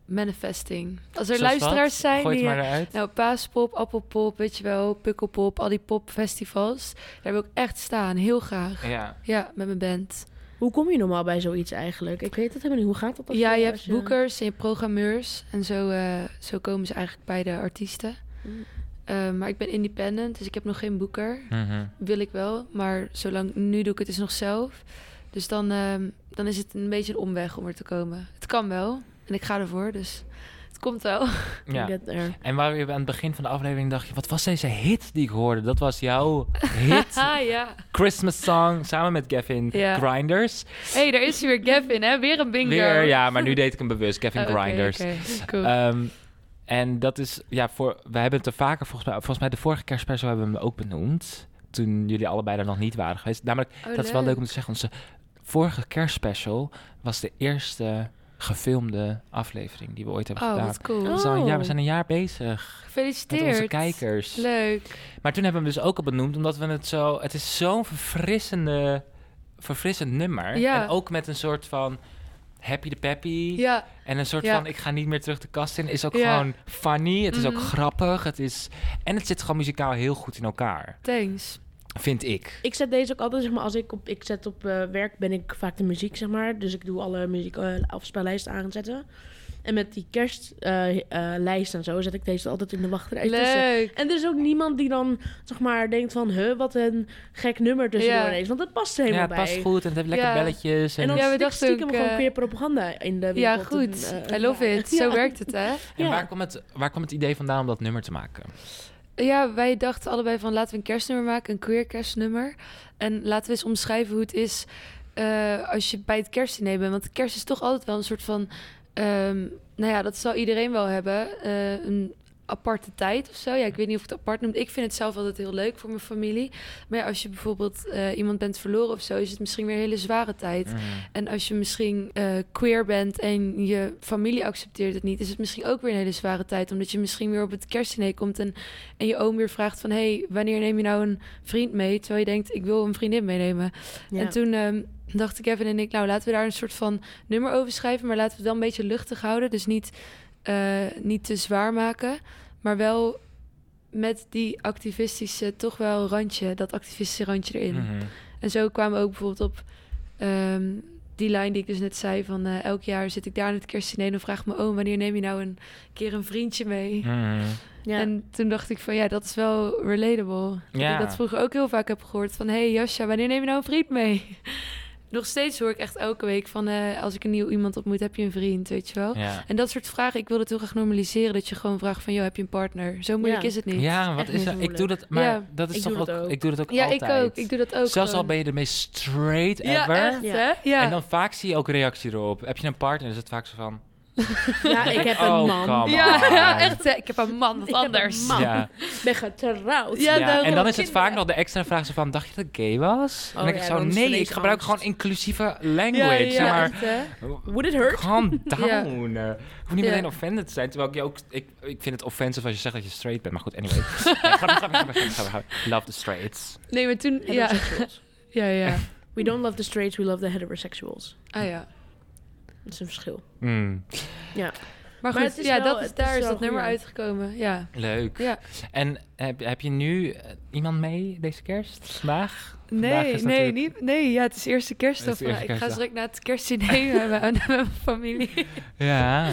Speaker 2: manifesting. Als er
Speaker 1: Zoals
Speaker 2: luisteraars
Speaker 1: wat?
Speaker 2: zijn
Speaker 1: Gooi
Speaker 2: die...
Speaker 1: het maar eruit.
Speaker 2: Nou, paaspop, appelpop, weet je wel, pukkelpop, al die popfestivals. Daar wil ik echt staan, heel graag.
Speaker 1: Ja.
Speaker 2: Ja, met mijn band.
Speaker 3: Hoe kom je normaal bij zoiets eigenlijk? Ik weet het helemaal niet. Hoe gaat dat? als
Speaker 2: ja, je
Speaker 3: als
Speaker 2: hebt boekers en je hebt programmeurs. En zo, eh, zo komen ze eigenlijk bij de artiesten.
Speaker 3: Mm.
Speaker 2: Eh, maar ik ben independent, dus ik heb nog geen boeker.
Speaker 1: Mhm.
Speaker 2: wil ik wel, maar zolang nu doe ik het dus nog zelf. Dus dan, ehm, dan is het een beetje een omweg om er te komen. Het kan wel en ik ga ervoor, dus het komt wel.
Speaker 1: ja.
Speaker 3: Get there.
Speaker 1: En waar we aan het begin van de aflevering dacht je, wat was deze hit die ik hoorde? Dat was jouw hit
Speaker 2: Ah ja.
Speaker 1: Christmas song samen met Gavin
Speaker 2: Ja.
Speaker 1: Grinders.
Speaker 2: Hé, hey, daar is hij weer Gavin, hè? Weer een bingo.
Speaker 1: Weer, ja, maar nu deed ik hem bewust, Gavin
Speaker 2: Oh, oké,
Speaker 1: Grinders.
Speaker 2: oké, cool.
Speaker 1: Ehm, en dat is, ja, voor, we hebben het er vaker, volgens mij, volgens mij de vorige kerstperso hebben we hem ook benoemd. Toen jullie allebei er nog niet waren geweest. Namelijk,
Speaker 2: Oh,
Speaker 1: dat is wel leuk om te zeggen, onze vorige kerstspecial was de eerste gefilmde aflevering die we ooit hebben
Speaker 2: Oh,
Speaker 1: gedaan.
Speaker 2: wat cool.
Speaker 1: Dat is al een jaar, we
Speaker 3: Oh.
Speaker 1: zijn een jaar bezig met
Speaker 2: Gefeliciteerd.
Speaker 1: onze kijkers.
Speaker 2: Leuk.
Speaker 1: Maar toen hebben we hem dus ook al benoemd, omdat we het zo... Het is zo'n verfrissende, verfrissend nummer.
Speaker 2: Ja.
Speaker 1: En ook met een soort van happy de peppy.
Speaker 2: Ja,
Speaker 1: En een soort
Speaker 2: Ja.
Speaker 1: van ik ga niet meer terug de kast in. Is ook
Speaker 2: Ja.
Speaker 1: gewoon funny. Het is
Speaker 2: Mhm.
Speaker 1: ook grappig. Het is, en het zit gewoon muzikaal heel goed in elkaar.
Speaker 2: thanks.
Speaker 1: Vind ik.
Speaker 3: Ik zet deze ook altijd, zeg maar, als ik op, ik zet op eh, werk, ben ik vaak de muziek, zeg maar. Dus ik doe alle muziek eh, afspeellijsten aanzetten. En met die kerstlijst lijst en zo zet ik deze altijd in de wachtrij tussen.
Speaker 2: Leuk.
Speaker 3: En er is ook niemand die dan, zeg maar, denkt van, huh, wat een gek nummer tussendoor
Speaker 2: Ja.
Speaker 3: is. Want dat past er
Speaker 1: Ja,
Speaker 3: helemaal
Speaker 1: het past
Speaker 3: bij.
Speaker 1: goed en het heeft lekker
Speaker 2: Ja.
Speaker 1: belletjes. En,
Speaker 3: En dan
Speaker 2: Ja, we
Speaker 3: ja, we
Speaker 2: dachten
Speaker 3: stiekem
Speaker 2: ook,
Speaker 3: gewoon
Speaker 2: eh,
Speaker 3: queer propaganda in de
Speaker 2: Ja,
Speaker 3: wereld.
Speaker 2: goed.
Speaker 3: En, eh,
Speaker 2: I love
Speaker 3: ja.
Speaker 2: it. Zo
Speaker 3: Ja.
Speaker 2: werkt het, hè?
Speaker 1: en
Speaker 3: ja.
Speaker 1: waar, kwam het, waar kwam het idee vandaan om dat nummer te maken?
Speaker 2: Ja, wij dachten allebei van laten we een kerstnummer maken, een queer kerstnummer. En laten we eens omschrijven hoe het is eh, als je bij het kerstdiner bent. Want kerst is toch altijd wel een soort van, ehm, nou ja, dat zal iedereen wel hebben. eh, een aparte tijd of zo. Ja, ik weet niet of ik het apart noem. Ik vind het zelf altijd heel leuk voor mijn familie. Maar ja, als je bijvoorbeeld eh, iemand bent verloren of zo, is het misschien weer een hele zware tijd. En als je misschien eh, queer bent en je familie accepteert het niet, is het misschien ook weer een hele zware tijd. Omdat je misschien weer op het kerstdiner komt en, en je oom weer vraagt van... hé, hey, wanneer neem je nou een vriend mee? Terwijl je denkt, ik wil een vriendin meenemen.
Speaker 3: Ja.
Speaker 2: En toen ehm, dachten Kevin en ik, nou laten we daar een soort van nummer over schrijven... maar laten we het wel een beetje luchtig houden. Dus niet, eh, niet te zwaar maken, maar wel met die activistische toch wel randje, dat activistische randje erin.
Speaker 1: Mhm.
Speaker 2: En zo kwamen we ook bijvoorbeeld op ehm, die lijn die ik dus net zei van eh, elk jaar zit ik daar aan het kerstdiner en dan vraagt mijn oom wanneer neem je nou een keer een vriendje mee?
Speaker 1: Mhm.
Speaker 3: Ja.
Speaker 2: En toen dacht ik van ja, dat is wel relatable. Dat
Speaker 1: Ja.
Speaker 2: ik dat vroeger ook heel vaak heb gehoord van hé hey, Jasja, wanneer neem je nou een vriend mee? Nog steeds hoor ik echt elke week van eh, als ik een nieuw iemand ontmoet, heb je een vriend, weet je wel?
Speaker 1: Ja.
Speaker 2: En dat soort vragen, ik wil het heel graag normaliseren. Dat je gewoon vraagt van, joh, heb je een partner? Zo moeilijk
Speaker 3: Ja.
Speaker 2: is het niet.
Speaker 1: ja, wat
Speaker 3: echt
Speaker 1: is
Speaker 3: niet
Speaker 1: dat? Ik
Speaker 3: moeilijk.
Speaker 1: doe dat, maar
Speaker 2: Ja.
Speaker 1: dat is
Speaker 3: Ik
Speaker 1: toch
Speaker 3: doe dat
Speaker 1: ook,
Speaker 3: ook.
Speaker 1: Ik doe dat ook
Speaker 2: Ja,
Speaker 1: altijd.
Speaker 2: ik ook. Ik doe dat ook
Speaker 1: Zelfs al
Speaker 2: gewoon.
Speaker 1: ben je de meest straight
Speaker 2: Ja,
Speaker 1: ever.
Speaker 2: echt,
Speaker 3: Ja.
Speaker 2: hè? Ja.
Speaker 1: En dan vaak zie je ook reactie erop. Heb je een partner? Is het vaak zo van...
Speaker 3: ja, ik heb
Speaker 1: oh,
Speaker 3: een man.
Speaker 1: come
Speaker 2: Ja,
Speaker 1: on.
Speaker 2: ja, echt. hè. Ik heb een man, wat
Speaker 3: Ik heb een
Speaker 2: anders.
Speaker 3: man.
Speaker 1: Ja.
Speaker 3: Ik ben getrouwd.
Speaker 2: Ja,
Speaker 1: Ja,
Speaker 2: daarom.
Speaker 1: en dan is het
Speaker 2: Kinderen.
Speaker 1: vaak nog de extra vraag zo van, dacht je dat ik gay was?
Speaker 3: Oh
Speaker 1: en ik
Speaker 3: ja,
Speaker 1: zo,
Speaker 3: dan is het
Speaker 1: nee, ik
Speaker 3: ineens
Speaker 1: gebruik
Speaker 3: angst.
Speaker 1: gewoon inclusieve language. zeg maar,
Speaker 2: echt, hè.
Speaker 3: Would it hurt?
Speaker 1: calm down. Eh, hoef niet
Speaker 2: Ja.
Speaker 1: meteen offended te zijn. Terwijl ik je ook, ik, ik vind het offensive als je zegt dat je straight bent. Maar goed, anyway. Nee, grapje, grapje, grapje, grapje, grapje, grapje. Love the straights.
Speaker 2: Nee, maar toen... Ja,
Speaker 3: Heteroseksuals.
Speaker 2: ja, ja.
Speaker 3: We don't love the straights, we love the heterosexuals.
Speaker 2: Ah ja.
Speaker 3: Dat is een verschil.
Speaker 1: Mm,
Speaker 2: Maar goed,
Speaker 3: Maar het is wel-
Speaker 2: ja, dat
Speaker 3: het
Speaker 2: is,
Speaker 3: is
Speaker 2: daar is
Speaker 3: wel
Speaker 2: dat nummer
Speaker 3: goed.
Speaker 2: uitgekomen. Ja.
Speaker 1: leuk.
Speaker 2: Ja.
Speaker 1: En heb, heb je nu eh, iemand mee deze kerst? Vandaag? Vandaag
Speaker 2: Nee,
Speaker 1: is
Speaker 2: nee,
Speaker 1: natuurlijk-
Speaker 2: niet, nee, ja, het is eerste kerstdag.
Speaker 1: Het is eerste
Speaker 2: Ik ga
Speaker 1: kerstdag.
Speaker 2: direct naar het kerstdiner met mijn, met mijn familie.
Speaker 1: Ja.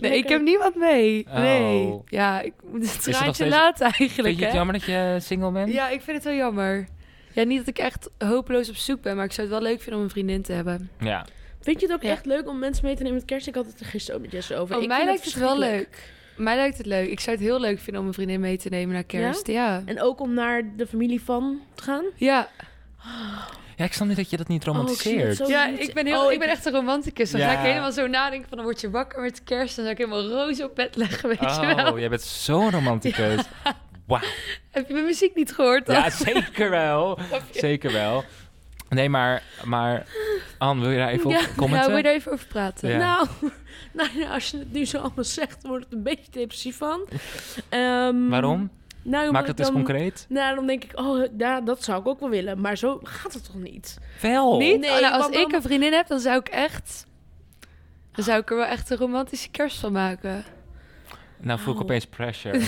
Speaker 2: Nee, ik heb niemand mee. Nee.
Speaker 1: Oh.
Speaker 2: Ja, ik moet het
Speaker 1: nog
Speaker 2: traantje
Speaker 1: steeds-
Speaker 2: laten eigenlijk,
Speaker 1: Vind je het
Speaker 2: hè.
Speaker 1: jammer dat je single bent?
Speaker 2: Ja, ik vind het wel jammer. Ja, niet dat ik echt hopeloos op zoek ben, maar ik zou het wel leuk vinden om een vriendin te hebben.
Speaker 1: Ja.
Speaker 3: Vind je het ook
Speaker 2: Ja.
Speaker 3: echt leuk om mensen mee te nemen met kerst? Ik had het er gisteren ook met Jesse over. ik
Speaker 2: Voor Oh, mij
Speaker 3: vind
Speaker 2: lijkt het wel
Speaker 3: verschrikkelijk.
Speaker 2: leuk. Mij lijkt het leuk. Ik zou het heel leuk vinden om een vriendin mee te nemen naar kerst. Ja.
Speaker 3: En ook om naar de familie van te gaan.
Speaker 2: Ja,
Speaker 1: Ja, ik snap niet dat je dat niet
Speaker 3: ik zie dat
Speaker 1: romantiseert.
Speaker 3: zo.
Speaker 2: ja.
Speaker 3: Oh, niet-
Speaker 2: ik, ben heel,
Speaker 3: oh,
Speaker 2: ik ben
Speaker 3: ik-
Speaker 2: echt een romanticus. Dan
Speaker 1: Ja.
Speaker 2: ga ik helemaal zo nadenken van dan word je wakker met kerst. Dan zou ik helemaal roos op bed leggen, weet je wel.
Speaker 1: oh, jij bent zo'n romanticus. Wauw.
Speaker 2: Heb je mijn muziek niet gehoord? dan?
Speaker 1: Ja, zeker wel. Zeker wel. Nee, maar, maar Anne, wil je daar even op
Speaker 2: Ja, wil
Speaker 1: commenten?
Speaker 2: je daar even over praten?
Speaker 1: Ja.
Speaker 3: Nou, nou ja, als je het nu zo allemaal zegt, dan word ik een beetje depressief van. Ehm,
Speaker 1: Waarom?
Speaker 3: Nou, omdat
Speaker 1: Maak
Speaker 3: ik
Speaker 1: het dus eens
Speaker 3: dan-
Speaker 1: concreet.
Speaker 3: Nou, dan denk ik, oh, ja, dat zou ik ook wel willen. Maar zo gaat het toch niet?
Speaker 1: Wel.
Speaker 2: Niet?
Speaker 3: Nee,
Speaker 2: Oh, nou, als
Speaker 3: want
Speaker 2: ik
Speaker 3: dan-
Speaker 2: een vriendin heb, dan zou ik echt... Dan zou ik er wel echt een romantische kerst van maken.
Speaker 1: Nou voel ik
Speaker 3: Oh.
Speaker 1: opeens pressure.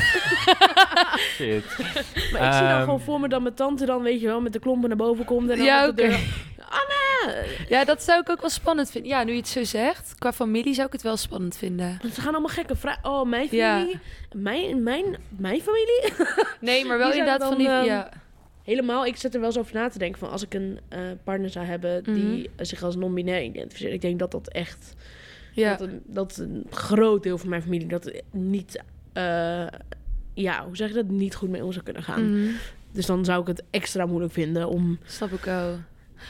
Speaker 1: Shit.
Speaker 3: Maar ik zie dan
Speaker 1: Ehm.
Speaker 3: gewoon voor me dat mijn tante dan, weet je wel, met de klompen naar boven komt. En dan
Speaker 2: Ja,
Speaker 3: met de
Speaker 2: oké.
Speaker 3: deur- Anna!
Speaker 2: Ja, dat zou ik ook wel spannend vinden. Ja, nu je het zo zegt, qua familie zou ik het wel spannend vinden.
Speaker 3: Ze gaan allemaal gekke vragen. Oh, mijn
Speaker 2: Ja.
Speaker 3: familie? Mijn, mijn, mijn familie?
Speaker 2: Nee, maar wel
Speaker 3: Die zou
Speaker 2: inderdaad
Speaker 3: dan,
Speaker 2: van die...
Speaker 3: ehm,
Speaker 2: ja.
Speaker 3: Helemaal, ik zit er wel eens over na te denken van als ik een eh, partner zou hebben die
Speaker 2: Mhm.
Speaker 3: zich als non-binair identificeert. Ik denk dat dat echt,
Speaker 2: Ja.
Speaker 3: dat, een, dat een groot deel van mijn familie dat niet, eh, ja, hoe zeg je dat, niet goed mee om zou kunnen gaan.
Speaker 2: Mhm.
Speaker 3: Dus dan zou ik het extra moeilijk vinden om
Speaker 2: Snap ik ook.
Speaker 3: dat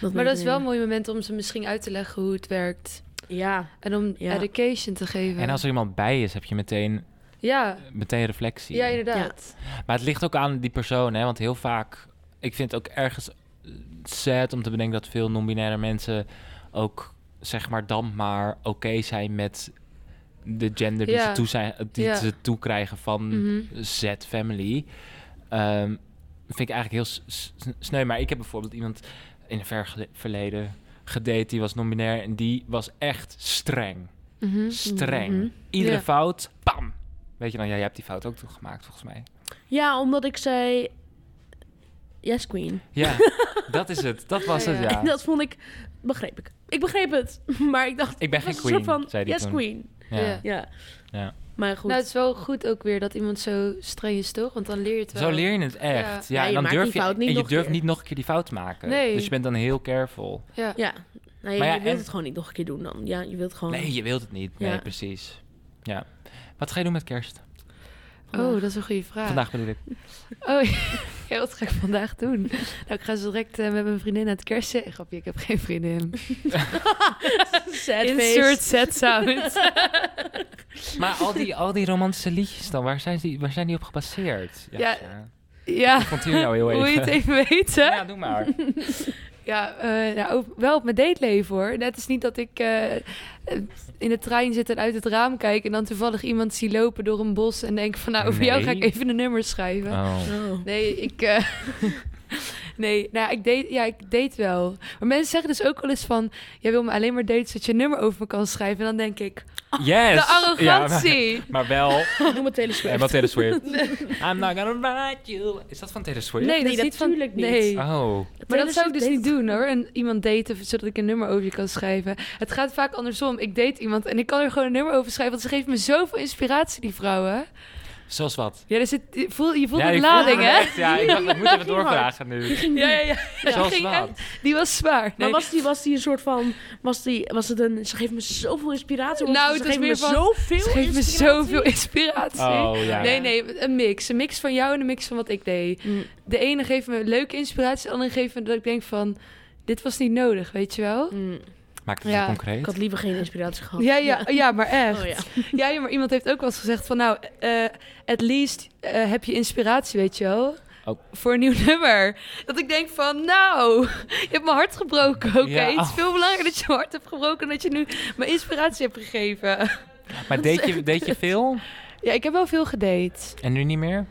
Speaker 2: Maar
Speaker 3: mee
Speaker 2: dat
Speaker 3: te
Speaker 2: is wel een
Speaker 3: nemen.
Speaker 2: mooi moment om ze misschien uit te leggen hoe het werkt.
Speaker 3: Ja,
Speaker 2: En om
Speaker 3: Ja.
Speaker 2: education te geven.
Speaker 1: En als er iemand bij is, heb je meteen,
Speaker 2: Ja,
Speaker 1: meteen reflectie.
Speaker 2: ja inderdaad.
Speaker 1: Maar het ligt ook aan die persoon, hè? Want heel vaak, ik vind het ook ergens eh, sad om te bedenken dat veel non-binaire mensen ook, zeg maar, dan maar oké zijn met de gender die,
Speaker 2: Ja.
Speaker 1: ze, toe zijn, eh, die
Speaker 2: Ja.
Speaker 1: ze toekrijgen van
Speaker 2: Mhm.
Speaker 1: Z-family. Ehm, vind ik eigenlijk heel s- s- sneu. Maar ik heb bijvoorbeeld iemand in het verge- verleden gedate, die was non-binair en die was echt streng
Speaker 2: Mhm.
Speaker 1: streng.
Speaker 3: Mhm.
Speaker 1: Iedere
Speaker 2: Ja.
Speaker 1: fout, bam. Weet je dan, ja, jij hebt die fout ook toen gemaakt, volgens mij.
Speaker 3: ja, omdat ik zei, yes queen.
Speaker 1: Ja, dat is het. Dat was het,
Speaker 2: Ja.
Speaker 1: ja.
Speaker 3: En dat vond ik, begreep ik. Ik begreep het, maar ik dacht,
Speaker 1: Ik ben
Speaker 3: het was
Speaker 1: geen
Speaker 3: een soort
Speaker 1: queen,
Speaker 3: van,
Speaker 1: zei die
Speaker 3: yes
Speaker 1: toen.
Speaker 3: queen.
Speaker 1: Ja.
Speaker 3: Ja.
Speaker 1: Ja.
Speaker 3: Maar goed.
Speaker 2: Mm. Nou, het is wel goed ook weer dat iemand zo streng is, toch? Want dan leer je het wel.
Speaker 1: Zo leer je het echt. Ja,
Speaker 3: Ja, je
Speaker 1: en dan
Speaker 3: maakt
Speaker 1: durf
Speaker 3: die
Speaker 1: je,
Speaker 3: fout niet
Speaker 1: en je
Speaker 3: nog een
Speaker 1: durft
Speaker 3: keer.
Speaker 1: niet nog een keer die fout te maken.
Speaker 2: Nee.
Speaker 1: Dus je bent dan heel careful.
Speaker 2: Ja.
Speaker 3: Ja, nee,
Speaker 1: Maar ja,
Speaker 3: je wilt
Speaker 1: en-
Speaker 3: het gewoon niet nog een keer doen dan. Ja, je wilt gewoon...
Speaker 1: Nee, je wilt het niet. Nee,
Speaker 3: Oh. Ja.
Speaker 1: precies. Ja. Wat ga je doen met kerst?
Speaker 2: Oh, dat is een goede vraag.
Speaker 1: Vandaag bedoel ik.
Speaker 2: Oh, ja, wat ga ik vandaag doen? Nou, ik ga zo direct eh, met mijn vriendin naar het kersen. Eh, Grapje, ik heb geen vriendin.
Speaker 3: Sad
Speaker 2: Insert set sound.
Speaker 1: Maar al die, al die romantische liedjes dan, waar zijn die, waar zijn die op gebaseerd? Ja.
Speaker 2: Ja.
Speaker 1: ja.
Speaker 2: ja,
Speaker 1: Ik continue jou heel
Speaker 2: hoe
Speaker 1: even.
Speaker 2: je het even weten.
Speaker 1: Ja, doe maar.
Speaker 2: Ja, eh, nou, ook wel op mijn dateleven hoor. Het is niet dat ik eh, eh, in de trein zit en uit het raam kijk... en dan toevallig iemand zie lopen door een bos en denk van... nou, over jou ga ik
Speaker 1: Nee.
Speaker 2: even een nummer schrijven.
Speaker 1: Oh.
Speaker 3: Oh.
Speaker 2: Nee, ik... eh, nee, nou, ik date, ja, ik date wel. Maar mensen zeggen dus ook wel eens van... jij wil me alleen maar daten zodat je een nummer over me kan schrijven. En dan denk ik,
Speaker 1: Yes!
Speaker 2: Ah, de
Speaker 1: Ja, maar,
Speaker 2: arrogantie!
Speaker 1: maar wel...
Speaker 3: Noem het Taylor Swift.
Speaker 1: En wat Taylor Swift. I'm not gonna ride you. Is dat van Taylor Swift?
Speaker 2: Nee, dat
Speaker 3: Nee,
Speaker 2: is niet van...
Speaker 3: natuurlijk niet.
Speaker 2: Nee.
Speaker 1: Oh.
Speaker 2: Maar
Speaker 3: Taylor
Speaker 2: dat zou ik dus
Speaker 3: Swift
Speaker 2: niet
Speaker 3: deed
Speaker 2: doen hoor. En iemand daten zodat ik een nummer over je kan schrijven. Het gaat vaak andersom. Ik date iemand en ik kan er gewoon een nummer over schrijven. Want ze geeft me zoveel inspiratie, die vrouwen.
Speaker 1: Zoals wat?
Speaker 2: Ja, er zit, je voelt, je voelt
Speaker 1: ja,
Speaker 2: de
Speaker 1: ik
Speaker 2: lading,
Speaker 1: voelde
Speaker 2: hè?
Speaker 1: hem echt. Ja, ik dacht, ik moet even
Speaker 3: Ging hard.
Speaker 1: doorvragen nu.
Speaker 2: Ja, ja, ja.
Speaker 1: Zoals
Speaker 2: Die ging
Speaker 1: wat?
Speaker 2: echt- Die was zwaar.
Speaker 3: Maar
Speaker 2: Nee.
Speaker 3: was die, was die een soort van... Was, die, was het een... Ze geeft me zoveel inspiratie. want
Speaker 2: Nou,
Speaker 3: ze
Speaker 2: het was
Speaker 3: geeft me
Speaker 2: meer van-
Speaker 3: zoveel
Speaker 2: Ze geeft me
Speaker 3: inspiratie.
Speaker 2: zoveel inspiratie.
Speaker 1: Oh, ja.
Speaker 2: Nee, nee, een mix. Een mix van jou en een mix van wat ik deed.
Speaker 3: Mm.
Speaker 2: De ene geeft me leuke inspiratie, de andere geeft me dat ik denk van... Dit was niet nodig, weet je wel?
Speaker 3: Mm.
Speaker 1: Maak het
Speaker 2: Ja.
Speaker 1: zo
Speaker 3: Ik
Speaker 1: concreet.
Speaker 3: had liever geen inspiratie gehad.
Speaker 2: Ja, ja, ja, maar echt.
Speaker 3: Oh ja.
Speaker 2: Ja, ja, maar iemand heeft ook wel eens gezegd van nou, eh, at least eh, heb je inspiratie, weet je wel.
Speaker 1: Oh.
Speaker 2: Voor een nieuw nummer. Dat ik denk van, nou, je hebt mijn hart gebroken, oké?
Speaker 1: Ja,
Speaker 2: Het is
Speaker 1: oh.
Speaker 2: veel belangrijker dat je mijn hart hebt gebroken... dan dat je nu mijn inspiratie hebt gegeven.
Speaker 1: Maar deed je, deed je veel?
Speaker 2: Ja, ik heb wel veel gedate.
Speaker 1: En nu niet meer?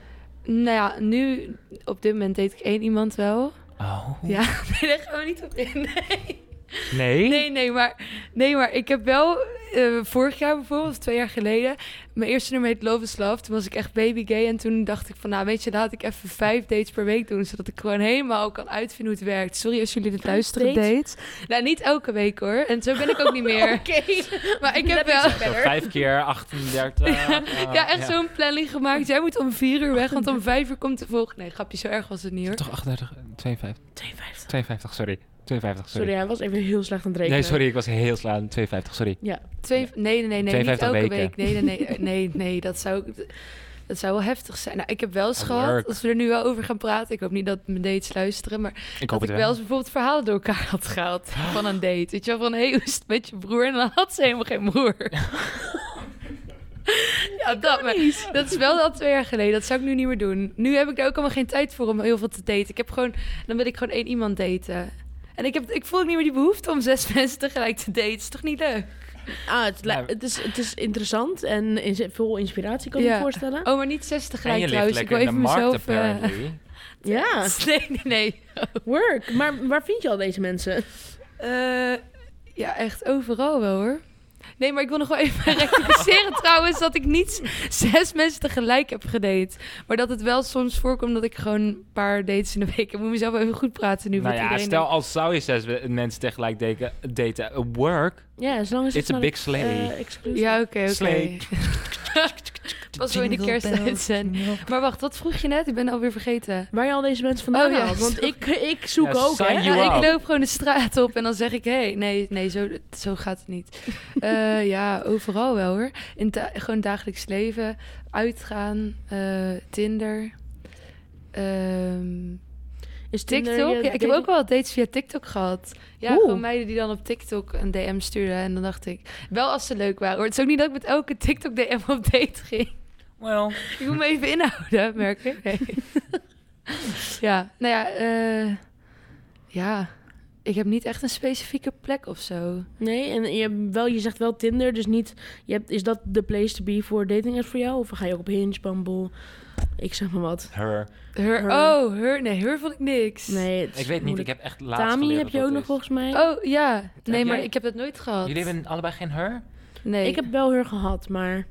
Speaker 2: Nou ja, nu, op dit moment date ik één iemand wel.
Speaker 1: Oh.
Speaker 2: Ja, nee, daar gaan we niet op in. Nee,
Speaker 1: Nee?
Speaker 2: nee, nee, maar, nee maar ik heb wel eh, vorig jaar bijvoorbeeld, of twee jaar geleden, mijn eerste nummer heet Love is Love. Toen was ik echt baby gay en toen dacht ik van, nou weet je, laat ik even vijf dates per week doen, zodat ik gewoon helemaal kan uitvinden hoe het werkt. Sorry als jullie dit luisteren,
Speaker 3: dates?
Speaker 2: dates. Nou, niet elke week hoor. En zo ben ik ook niet meer.
Speaker 3: Oké.
Speaker 2: Maar ik heb
Speaker 3: Dat is
Speaker 2: wel...
Speaker 1: Zo vijf keer 38. eh,
Speaker 2: Ja, echt zo'n planning gemaakt. Jij moet om vier uur weg, want om vijf uur komt de volgende. Nee, grapje, zo erg was het niet hoor.
Speaker 1: Toch 38, 52,
Speaker 3: 52.
Speaker 1: 52, sorry. 52, sorry.
Speaker 3: Sorry, hij was even heel slecht aan het rekenen.
Speaker 1: nee, sorry, ik was heel slaan. 52, sorry.
Speaker 3: Ja,
Speaker 2: Twee, nee, nee, nee, nee, niet
Speaker 1: 52
Speaker 2: elke
Speaker 1: weken.
Speaker 2: week. Nee, nee, nee, eh, nee, nee, dat zou, dat zou wel heftig zijn. Nou, ik heb wel eens
Speaker 1: Hard
Speaker 2: gehad,
Speaker 1: work.
Speaker 2: als we er nu wel over gaan praten, ik hoop niet dat mijn dates luisteren, maar
Speaker 1: Ik hoop
Speaker 2: dat ik
Speaker 1: het
Speaker 2: wel
Speaker 1: wel.
Speaker 2: eens bijvoorbeeld verhalen door elkaar had gehaald van een date. Weet je wel, van hé, hey, hoe is het met je broer? En dan had ze helemaal geen broer. ja, dat, maar, dat is wel al twee jaar geleden. Dat zou ik nu niet meer doen. Nu heb ik er ook allemaal geen tijd voor om heel veel te daten. Ik heb gewoon, dan wil ik gewoon één iemand daten. En ik, heb, ik voel ook niet meer die behoefte om zes mensen tegelijk te daten. Is toch niet leuk?
Speaker 3: ah, het, li-
Speaker 1: Nou,
Speaker 3: het, is, het is interessant en is- veel inspiratie, kan ik
Speaker 2: Ja.
Speaker 3: me voorstellen.
Speaker 2: Oh, maar niet zes
Speaker 1: En je
Speaker 2: tegelijk
Speaker 1: ligt
Speaker 2: trouwens. Ik
Speaker 1: lekker
Speaker 2: wil
Speaker 1: in de
Speaker 2: even
Speaker 1: markt,
Speaker 2: mezelf... eh,
Speaker 1: apparently.
Speaker 3: Ja,
Speaker 2: nee, nee, nee.
Speaker 3: work. Maar waar vind je al deze mensen?
Speaker 2: Eh, ja, echt overal wel hoor. Nee, maar ik wil nog wel even rectificeren trouwens dat ik niet zes mensen tegelijk heb gedate. Maar dat het wel soms voorkomt dat ik gewoon een paar dates in de week... Ik moet mezelf even goed praten nu.
Speaker 1: nou
Speaker 2: wat
Speaker 1: ja,
Speaker 2: iedereen
Speaker 1: stel als zou je zes we- mensen tegelijk deken- daten. at Work,
Speaker 3: Ja, zolang is het
Speaker 1: it's a
Speaker 3: maar
Speaker 1: big sleigh.
Speaker 3: eh, exclusief.
Speaker 2: denkt- Ja, oké, oké.
Speaker 1: Slay.
Speaker 2: Pas wel in de kerstuitzending. Maar wacht, wat vroeg je net? Ik ben alweer vergeten.
Speaker 3: Waar je al deze mensen vandaan
Speaker 2: Oh, ja,
Speaker 3: haalt. Want
Speaker 2: sorry.
Speaker 3: ik, ik zoek
Speaker 1: Ja,
Speaker 3: ook, hè.
Speaker 1: sign You
Speaker 2: Ja,
Speaker 1: out.
Speaker 2: ik loop gewoon de straat op en dan zeg ik... Hé, hey, nee, nee zo, zo gaat het niet. Eh, ja, overal wel hoor. In da- gewoon dagelijks leven. Uitgaan. eh, Tinder. ehm,
Speaker 3: Is Tinder
Speaker 2: TikTok.
Speaker 3: je
Speaker 2: Ja, ik heb
Speaker 3: dating-
Speaker 2: ook wel dates via TikTok gehad. Ja,
Speaker 3: Oeh.
Speaker 2: gewoon meiden die dan op TikTok een DM stuurden. En dan dacht ik... Wel als ze leuk waren hoor. Het is ook niet dat ik met elke TikTok DM op date ging.
Speaker 1: Well,
Speaker 2: Ik moet me even inhouden, merk ik. Nee. ja, nou ja, eh, ja. Ik heb niet echt een specifieke plek of zo.
Speaker 3: Nee, en je, wel, je zegt wel Tinder, dus niet... Je hebt, is dat de place to be voor dating apps voor jou? Of ga je ook op Hinge, Bumble? Ik zeg maar wat.
Speaker 1: her.
Speaker 2: Her,
Speaker 3: Her.
Speaker 2: Oh, her, nee, her vond ik niks.
Speaker 3: Nee, het is
Speaker 1: Ik weet niet, ik
Speaker 3: moeilijk.
Speaker 1: heb echt laatst
Speaker 3: Tami
Speaker 1: geleerd
Speaker 3: heb
Speaker 1: dat
Speaker 3: je
Speaker 1: dat
Speaker 3: ook nog
Speaker 1: is.
Speaker 3: volgens mij.
Speaker 2: Oh ja, nee,
Speaker 1: Heb
Speaker 2: maar
Speaker 1: jij?
Speaker 2: ik heb dat nooit gehad.
Speaker 1: Jullie hebben allebei geen her?
Speaker 2: Nee,
Speaker 3: Ik heb wel heel gehad, maar...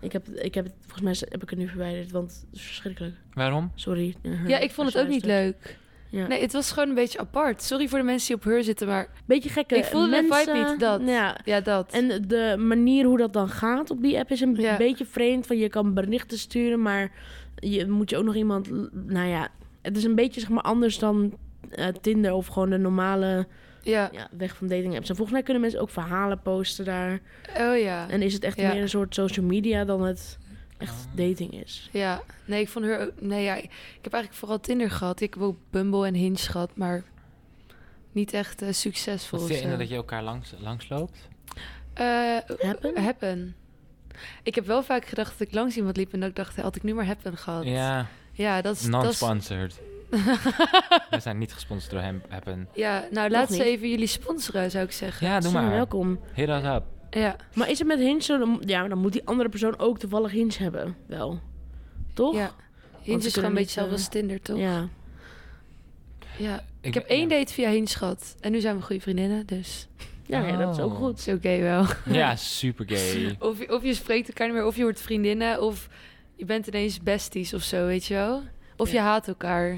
Speaker 3: Ik heb, ik heb het, volgens mij heb ik het nu verwijderd, want het is verschrikkelijk.
Speaker 1: Waarom?
Speaker 3: Sorry.
Speaker 2: ja, ik vond het ook niet leuk.
Speaker 3: Ja.
Speaker 2: Nee, het was gewoon een beetje apart. Sorry voor de mensen die op her zitten, maar
Speaker 3: Beetje gekke
Speaker 2: Ik voelde de
Speaker 3: mensen.
Speaker 2: vibe niet, dat.
Speaker 3: Ja.
Speaker 2: ja, dat.
Speaker 3: En de manier hoe dat dan gaat op die app is een
Speaker 2: Ja.
Speaker 3: beetje vreemd. Van je kan berichten sturen, maar je moet je ook nog iemand. l- Nou ja, het is een beetje zeg maar anders dan eh, Tinder of gewoon de normale
Speaker 2: ja.
Speaker 3: ja, weg van dating apps. En volgens mij kunnen mensen ook verhalen posten daar.
Speaker 2: Oh ja.
Speaker 3: En is het echt
Speaker 2: Ja.
Speaker 3: meer een soort social media dan het echt
Speaker 1: Ah.
Speaker 3: dating is.
Speaker 2: Ja, nee, ik vond haar ook... Nee, ja, ik heb eigenlijk vooral Tinder gehad. Ik heb ook Bumble en Hinge gehad, maar niet echt eh, succesvol.
Speaker 1: Wat
Speaker 2: of
Speaker 1: vind je
Speaker 2: zo.
Speaker 1: dat je elkaar langs, langs loopt?
Speaker 2: Eh,
Speaker 3: Happen?
Speaker 2: happen. Ik heb wel vaak gedacht dat ik langs iemand liep en dat ik dacht, had ik nu maar happen gehad.
Speaker 1: Ja,
Speaker 2: Ja, dat is... dat is-
Speaker 1: non-sponsored. We zijn niet gesponsord door hem. Happen.
Speaker 2: ja, nou laat
Speaker 3: Nog
Speaker 2: ze
Speaker 3: niet.
Speaker 2: even jullie sponsoren, zou ik zeggen.
Speaker 1: Ja, doe
Speaker 3: Zo,
Speaker 1: maar.
Speaker 3: Welkom.
Speaker 1: Hit us up.
Speaker 2: Ja,
Speaker 3: Maar is het met Hinge zo? dan- Ja, maar dan moet die andere persoon ook toevallig Hinge hebben. Wel. Toch?
Speaker 2: ja.
Speaker 3: kunnen
Speaker 2: Hinge is gewoon een
Speaker 3: niet,
Speaker 2: beetje zelf
Speaker 3: eh,
Speaker 2: als Tinder, toch? Ja.
Speaker 3: Ja.
Speaker 2: Ik heb één date via Hinge gehad en nu zijn we goede vriendinnen, dus
Speaker 3: Ja, ja, dat is ook
Speaker 1: Oh.
Speaker 3: goed.
Speaker 2: dat is oké wel.
Speaker 1: Ja, super gay.
Speaker 2: Of, je- of je spreekt elkaar niet meer, of je wordt vriendinnen, of je bent ineens besties of zo, weet je wel? Of je
Speaker 3: Ja.
Speaker 2: haat elkaar,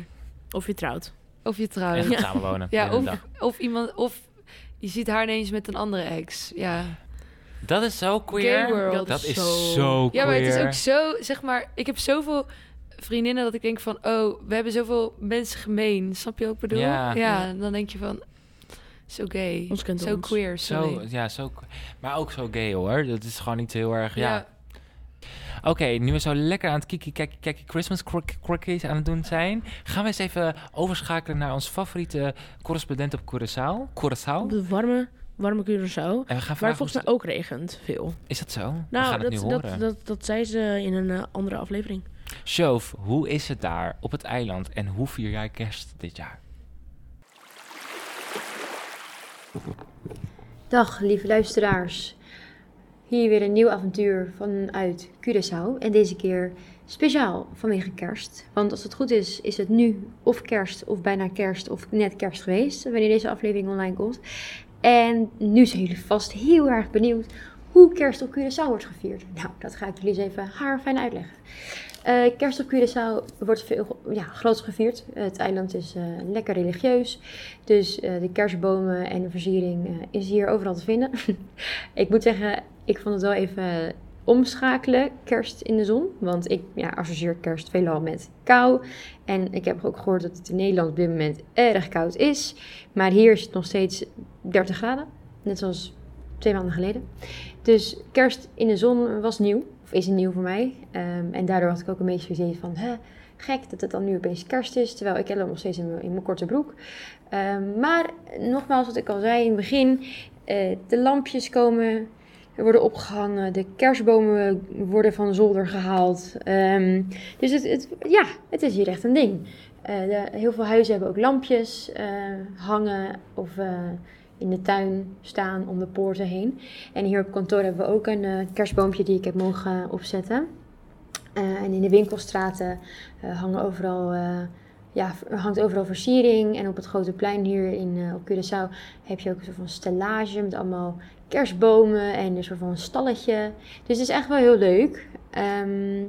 Speaker 3: Of je trouwt.
Speaker 2: of je trouwt.
Speaker 1: En
Speaker 2: Ja,
Speaker 1: samen wonen.
Speaker 2: of, of iemand, of je ziet haar ineens met een andere ex. Ja,
Speaker 1: Dat is zo queer.
Speaker 2: Gay world.
Speaker 1: Dat is zo,
Speaker 2: ja maar het is
Speaker 1: queer.
Speaker 2: ook zo, zeg maar, ik heb zoveel vriendinnen dat ik denk van, oh, we hebben zoveel mensen gemeen. Snap je ook bedoel?
Speaker 1: Ja.
Speaker 2: ja dan denk je van, zo gay,
Speaker 3: Ons kent
Speaker 2: zo
Speaker 3: ons.
Speaker 2: queer,
Speaker 1: Zo,
Speaker 2: sorry.
Speaker 1: ja, zo, maar ook zo gay hoor. Dat is gewoon niet heel erg. Ja.
Speaker 2: Ja.
Speaker 1: Oké, nu we zo lekker aan het kiki kaki kaki Christmas crook- crookies aan het doen zijn, gaan we eens even overschakelen naar ons favoriete correspondent op Curaçao.
Speaker 3: Op
Speaker 1: Curaçao.
Speaker 3: de warme, warme Curaçao.
Speaker 1: En we gaan
Speaker 3: Waar
Speaker 1: vragen,
Speaker 3: volgens mij ook regent veel.
Speaker 1: hoe- is dat zo? we
Speaker 3: Nou,
Speaker 1: gaan het nu
Speaker 3: dat, dat,
Speaker 1: horen.
Speaker 3: dat, dat zei ze in een eh, andere aflevering.
Speaker 1: Sjoof, hoe is het daar op het eiland en hoe vier jij kerst dit jaar?
Speaker 5: Dag lieve luisteraars. Hier weer een nieuw avontuur vanuit Curaçao. En deze keer speciaal vanwege kerst. Want als het goed is, is het nu of kerst of bijna kerst of net kerst geweest. Wanneer deze aflevering online komt. En nu zijn jullie vast heel erg benieuwd hoe kerst op Curaçao wordt gevierd. Nou, dat ga ik jullie eens even haarfijn uitleggen. Eh, kerst op Curaçao wordt veel, ja, groots gevierd. Het eiland is eh, lekker religieus. Dus eh, de kerstbomen en de versiering eh, is hier overal te vinden. ik moet zeggen, ik vond het wel even omschakelen, kerst in de zon. Want ik ja, associeer kerst veelal met kou. En ik heb ook gehoord dat het in Nederland op dit moment erg koud is. Maar hier is het nog steeds 30 graden. Net zoals twee maanden geleden. Dus kerst in de zon was nieuw. Of is nieuw voor mij. Ehm, en daardoor had ik ook een beetje zoiets van... Hè, gek dat het dan nu opeens kerst is. Terwijl ik heb nog steeds in mijn- in mijn korte broek. Ehm, maar nogmaals, wat ik al zei in het begin. eh, de lampjes komen... Er worden opgehangen, de kerstbomen worden van zolder gehaald. Ehm, dus het, het, ja, het is hier echt een ding. Eh, de- heel veel huizen hebben ook lampjes eh, hangen of eh, in de tuin staan om de poorten heen. En hier op kantoor hebben we ook een eh, kerstboompje die ik heb mogen opzetten. Eh, en in de winkelstraten eh, hangen overal, eh, ja, v- hangt overal versiering. En op het grote plein hier in, eh, op Curaçao heb je ook een soort van stellage met allemaal kerstbomen en een soort van stalletje. Dus het is echt wel heel leuk. Ehm,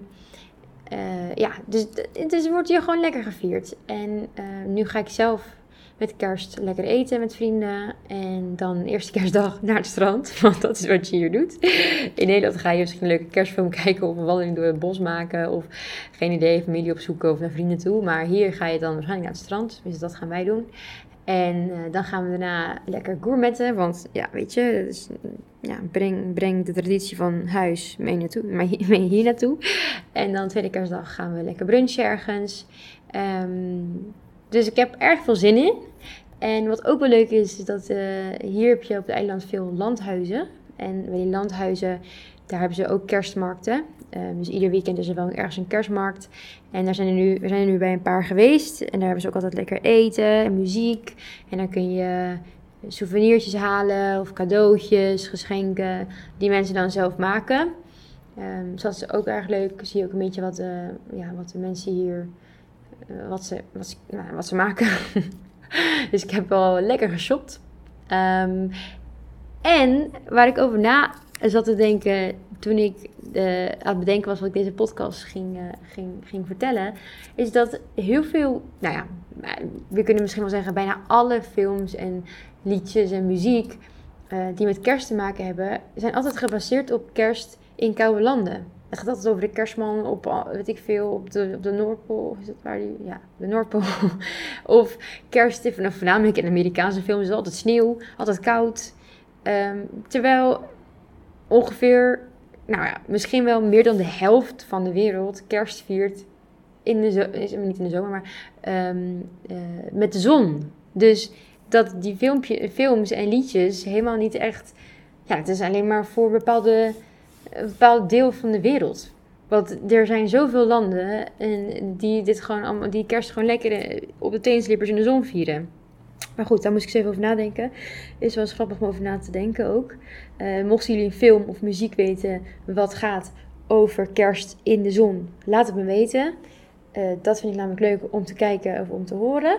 Speaker 5: eh, ja, dus het- het is- wordt hier gewoon lekker gevierd. En eh, nu ga ik zelf met kerst lekker eten met vrienden. En dan eerste kerstdag naar het strand. Want dat is wat je hier doet. In Nederland ga je misschien een leuke kerstfilm kijken. Of een wandeling door het bos maken. Of geen idee, familie opzoeken of naar vrienden toe. Maar hier ga je dan waarschijnlijk naar het strand. Tenminste, dat gaan wij doen. En eh, dan gaan we daarna lekker gourmetten. Want ja, weet je, dat is, ja, breng, breng de traditie van huis mee, naartoe, mee, mee hier naartoe. En dan tweede kerstdag gaan we lekker brunchen ergens. Ehm, dus ik heb erg veel zin in. En wat ook wel leuk is, is dat eh, hier heb je op het eiland veel landhuizen. En bij die landhuizen, daar hebben ze ook kerstmarkten. Ehm, dus ieder weekend is er wel ergens een kerstmarkt. En daar zijn er nu, we zijn er nu bij een paar geweest. En daar hebben ze ook altijd lekker eten en muziek. En dan kun je eh, souvenirtjes halen of cadeautjes, geschenken die mensen dan zelf maken. Ehm, dus dat is ook erg leuk. Dan Zie je ook een beetje wat, eh, ja, wat de mensen hier, eh, wat, ze, wat, ze, nou, wat ze maken. dus ik heb wel lekker geshopt. Ehm, en waar ik over na zat te denken toen ik eh, aan het bedenken was wat ik deze podcast ging, eh, ging, ging vertellen, is dat heel veel, nou ja, eh, we kunnen misschien wel zeggen bijna alle films en liedjes en muziek eh, die met kerst te maken hebben, zijn altijd gebaseerd op kerst in koude landen. Het gaat altijd over de kerstman op, eh, weet ik veel, op de, op de Noordpool. Is dat waar die? Ja, de Noordpool. of kerst, in- nou, voornamelijk in Amerikaanse films, is het altijd sneeuw, altijd koud. Ehm, terwijl ongeveer, nou ja, misschien wel meer dan de helft van de wereld kerst viert in de zo- is- niet in de zomer, maar ehm, eh, met de zon. Dus dat die filmpje, films en liedjes helemaal niet echt, ja, het is alleen maar voor bepaalde, een bepaald deel van de wereld. Want er zijn zoveel landen en die dit gewoon allemaal, die kerst gewoon lekker eh, op de teenslippers in de zon vieren. Maar goed, daar moest ik eens even over nadenken. Is wel eens grappig om over na te denken ook. Eh, mochten jullie een film of muziek weten wat gaat over kerst in de zon, laat het me weten. Eh, dat vind ik namelijk leuk om te kijken of om te horen.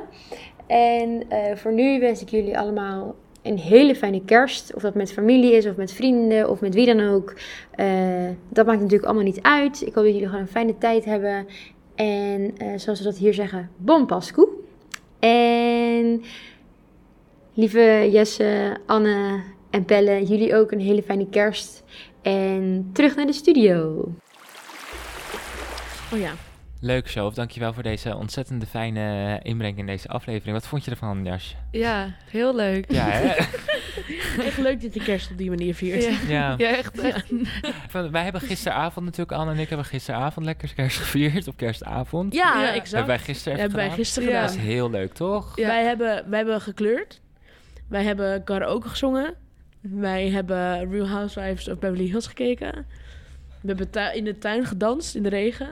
Speaker 5: En eh, voor nu wens ik jullie allemaal een hele fijne kerst. Of dat met familie is, of met vrienden, of met wie dan ook. Eh, dat maakt natuurlijk allemaal niet uit. Ik hoop dat jullie gewoon een fijne tijd hebben. En eh, zoals we dat hier zeggen, bon Pascu. En lieve Jesse, Anne en Pelle, jullie ook een hele fijne kerst. En terug naar de studio.
Speaker 3: Oh ja.
Speaker 1: Leuk, Shove. Dankjewel voor deze ontzettende fijne eh, inbreng in deze aflevering. Wat vond je ervan, Jasje?
Speaker 2: Ja, heel leuk.
Speaker 1: Ja, hè?
Speaker 3: Echt leuk dat de kerst op die manier viert.
Speaker 2: Ja.
Speaker 1: ja.
Speaker 2: Ja, echt, echt.
Speaker 1: Ik vond- Wij hebben gisteravond natuurlijk, Anne en ik hebben gisteravond lekker kerst gevierd. Op kerstavond.
Speaker 3: Ja,
Speaker 2: Ja.
Speaker 3: exact.
Speaker 1: Hebben wij gisteren even
Speaker 3: Hebben wij
Speaker 1: gedaan.
Speaker 3: gisteren
Speaker 2: Ja.
Speaker 1: Dat
Speaker 3: gedaan.
Speaker 1: is heel leuk, toch?
Speaker 2: Ja.
Speaker 3: Wij, hebben, wij hebben gekleurd. Wij hebben karaoke gezongen. Wij hebben Real Housewives of Beverly Hills gekeken. We hebben tui- in de tuin gedanst in de regen.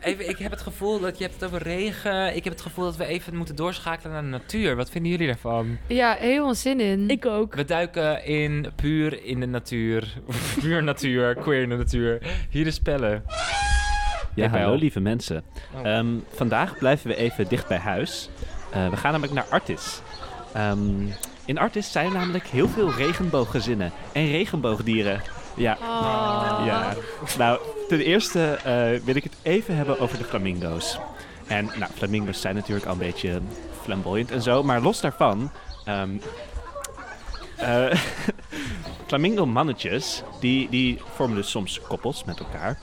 Speaker 1: Even, ik heb het gevoel dat je hebt het over regen. Ik heb het gevoel dat we even moeten doorschakelen naar de natuur. Wat vinden jullie daarvan?
Speaker 2: ja, helemaal zin in.
Speaker 3: Ik ook.
Speaker 1: We duiken in puur in de natuur. puur natuur, queer in de natuur. Hier is Pelle.
Speaker 4: Ja,
Speaker 1: Ik wel.
Speaker 4: hallo lieve mensen.
Speaker 1: Oh.
Speaker 4: Ehm, vandaag blijven we even dicht bij huis. Eh, we gaan namelijk naar Artis. Ehm, in Artis zijn namelijk heel veel regenbooggezinnen en regenboogdieren. Ja,
Speaker 1: Ah.
Speaker 2: Oh.
Speaker 4: ja. Nou, ten eerste eh, wil ik het even hebben over de flamingo's. En nou, flamingo's zijn natuurlijk al een beetje flamboyant en zo, maar los daarvan. ehm, eh, Flamingo-mannetjes, die, die vormen dus soms koppels met elkaar.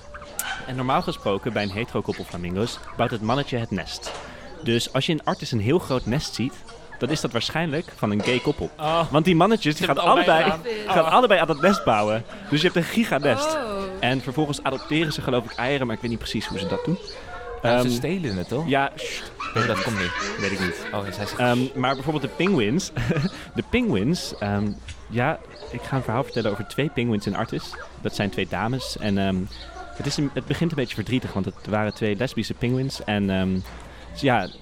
Speaker 4: En normaal gesproken, bij een hetero-koppel flamingo's, bouwt het mannetje het nest. Dus als je in Artis een heel groot nest ziet, dan is dat waarschijnlijk van een gay koppel.
Speaker 1: Oh.
Speaker 4: Want die mannetjes die
Speaker 1: Ze
Speaker 4: gaan,
Speaker 1: hebben het allebei
Speaker 4: allebei,
Speaker 2: gedaan.
Speaker 4: gaan allebei aan dat nest bouwen. Dus je hebt een giganest.
Speaker 2: Oh.
Speaker 4: En vervolgens adopteren ze geloof ik eieren, maar ik weet niet precies hoe ze dat doen.
Speaker 1: Nou,
Speaker 4: Ehm,
Speaker 1: ze stelen het, toch?
Speaker 4: ja, sst,
Speaker 1: Nee, dat komt niet.
Speaker 4: weet ik niet.
Speaker 1: Oh, zij zegt...
Speaker 4: Ehm, maar bijvoorbeeld de penguins. de penguins. ehm, ja, ik ga een verhaal vertellen over twee penguins in Artis. Dat zijn twee dames. En ehm, het, is een- het begint een beetje verdrietig, want het waren twee lesbische penguins. En ehm, ze- ja, het,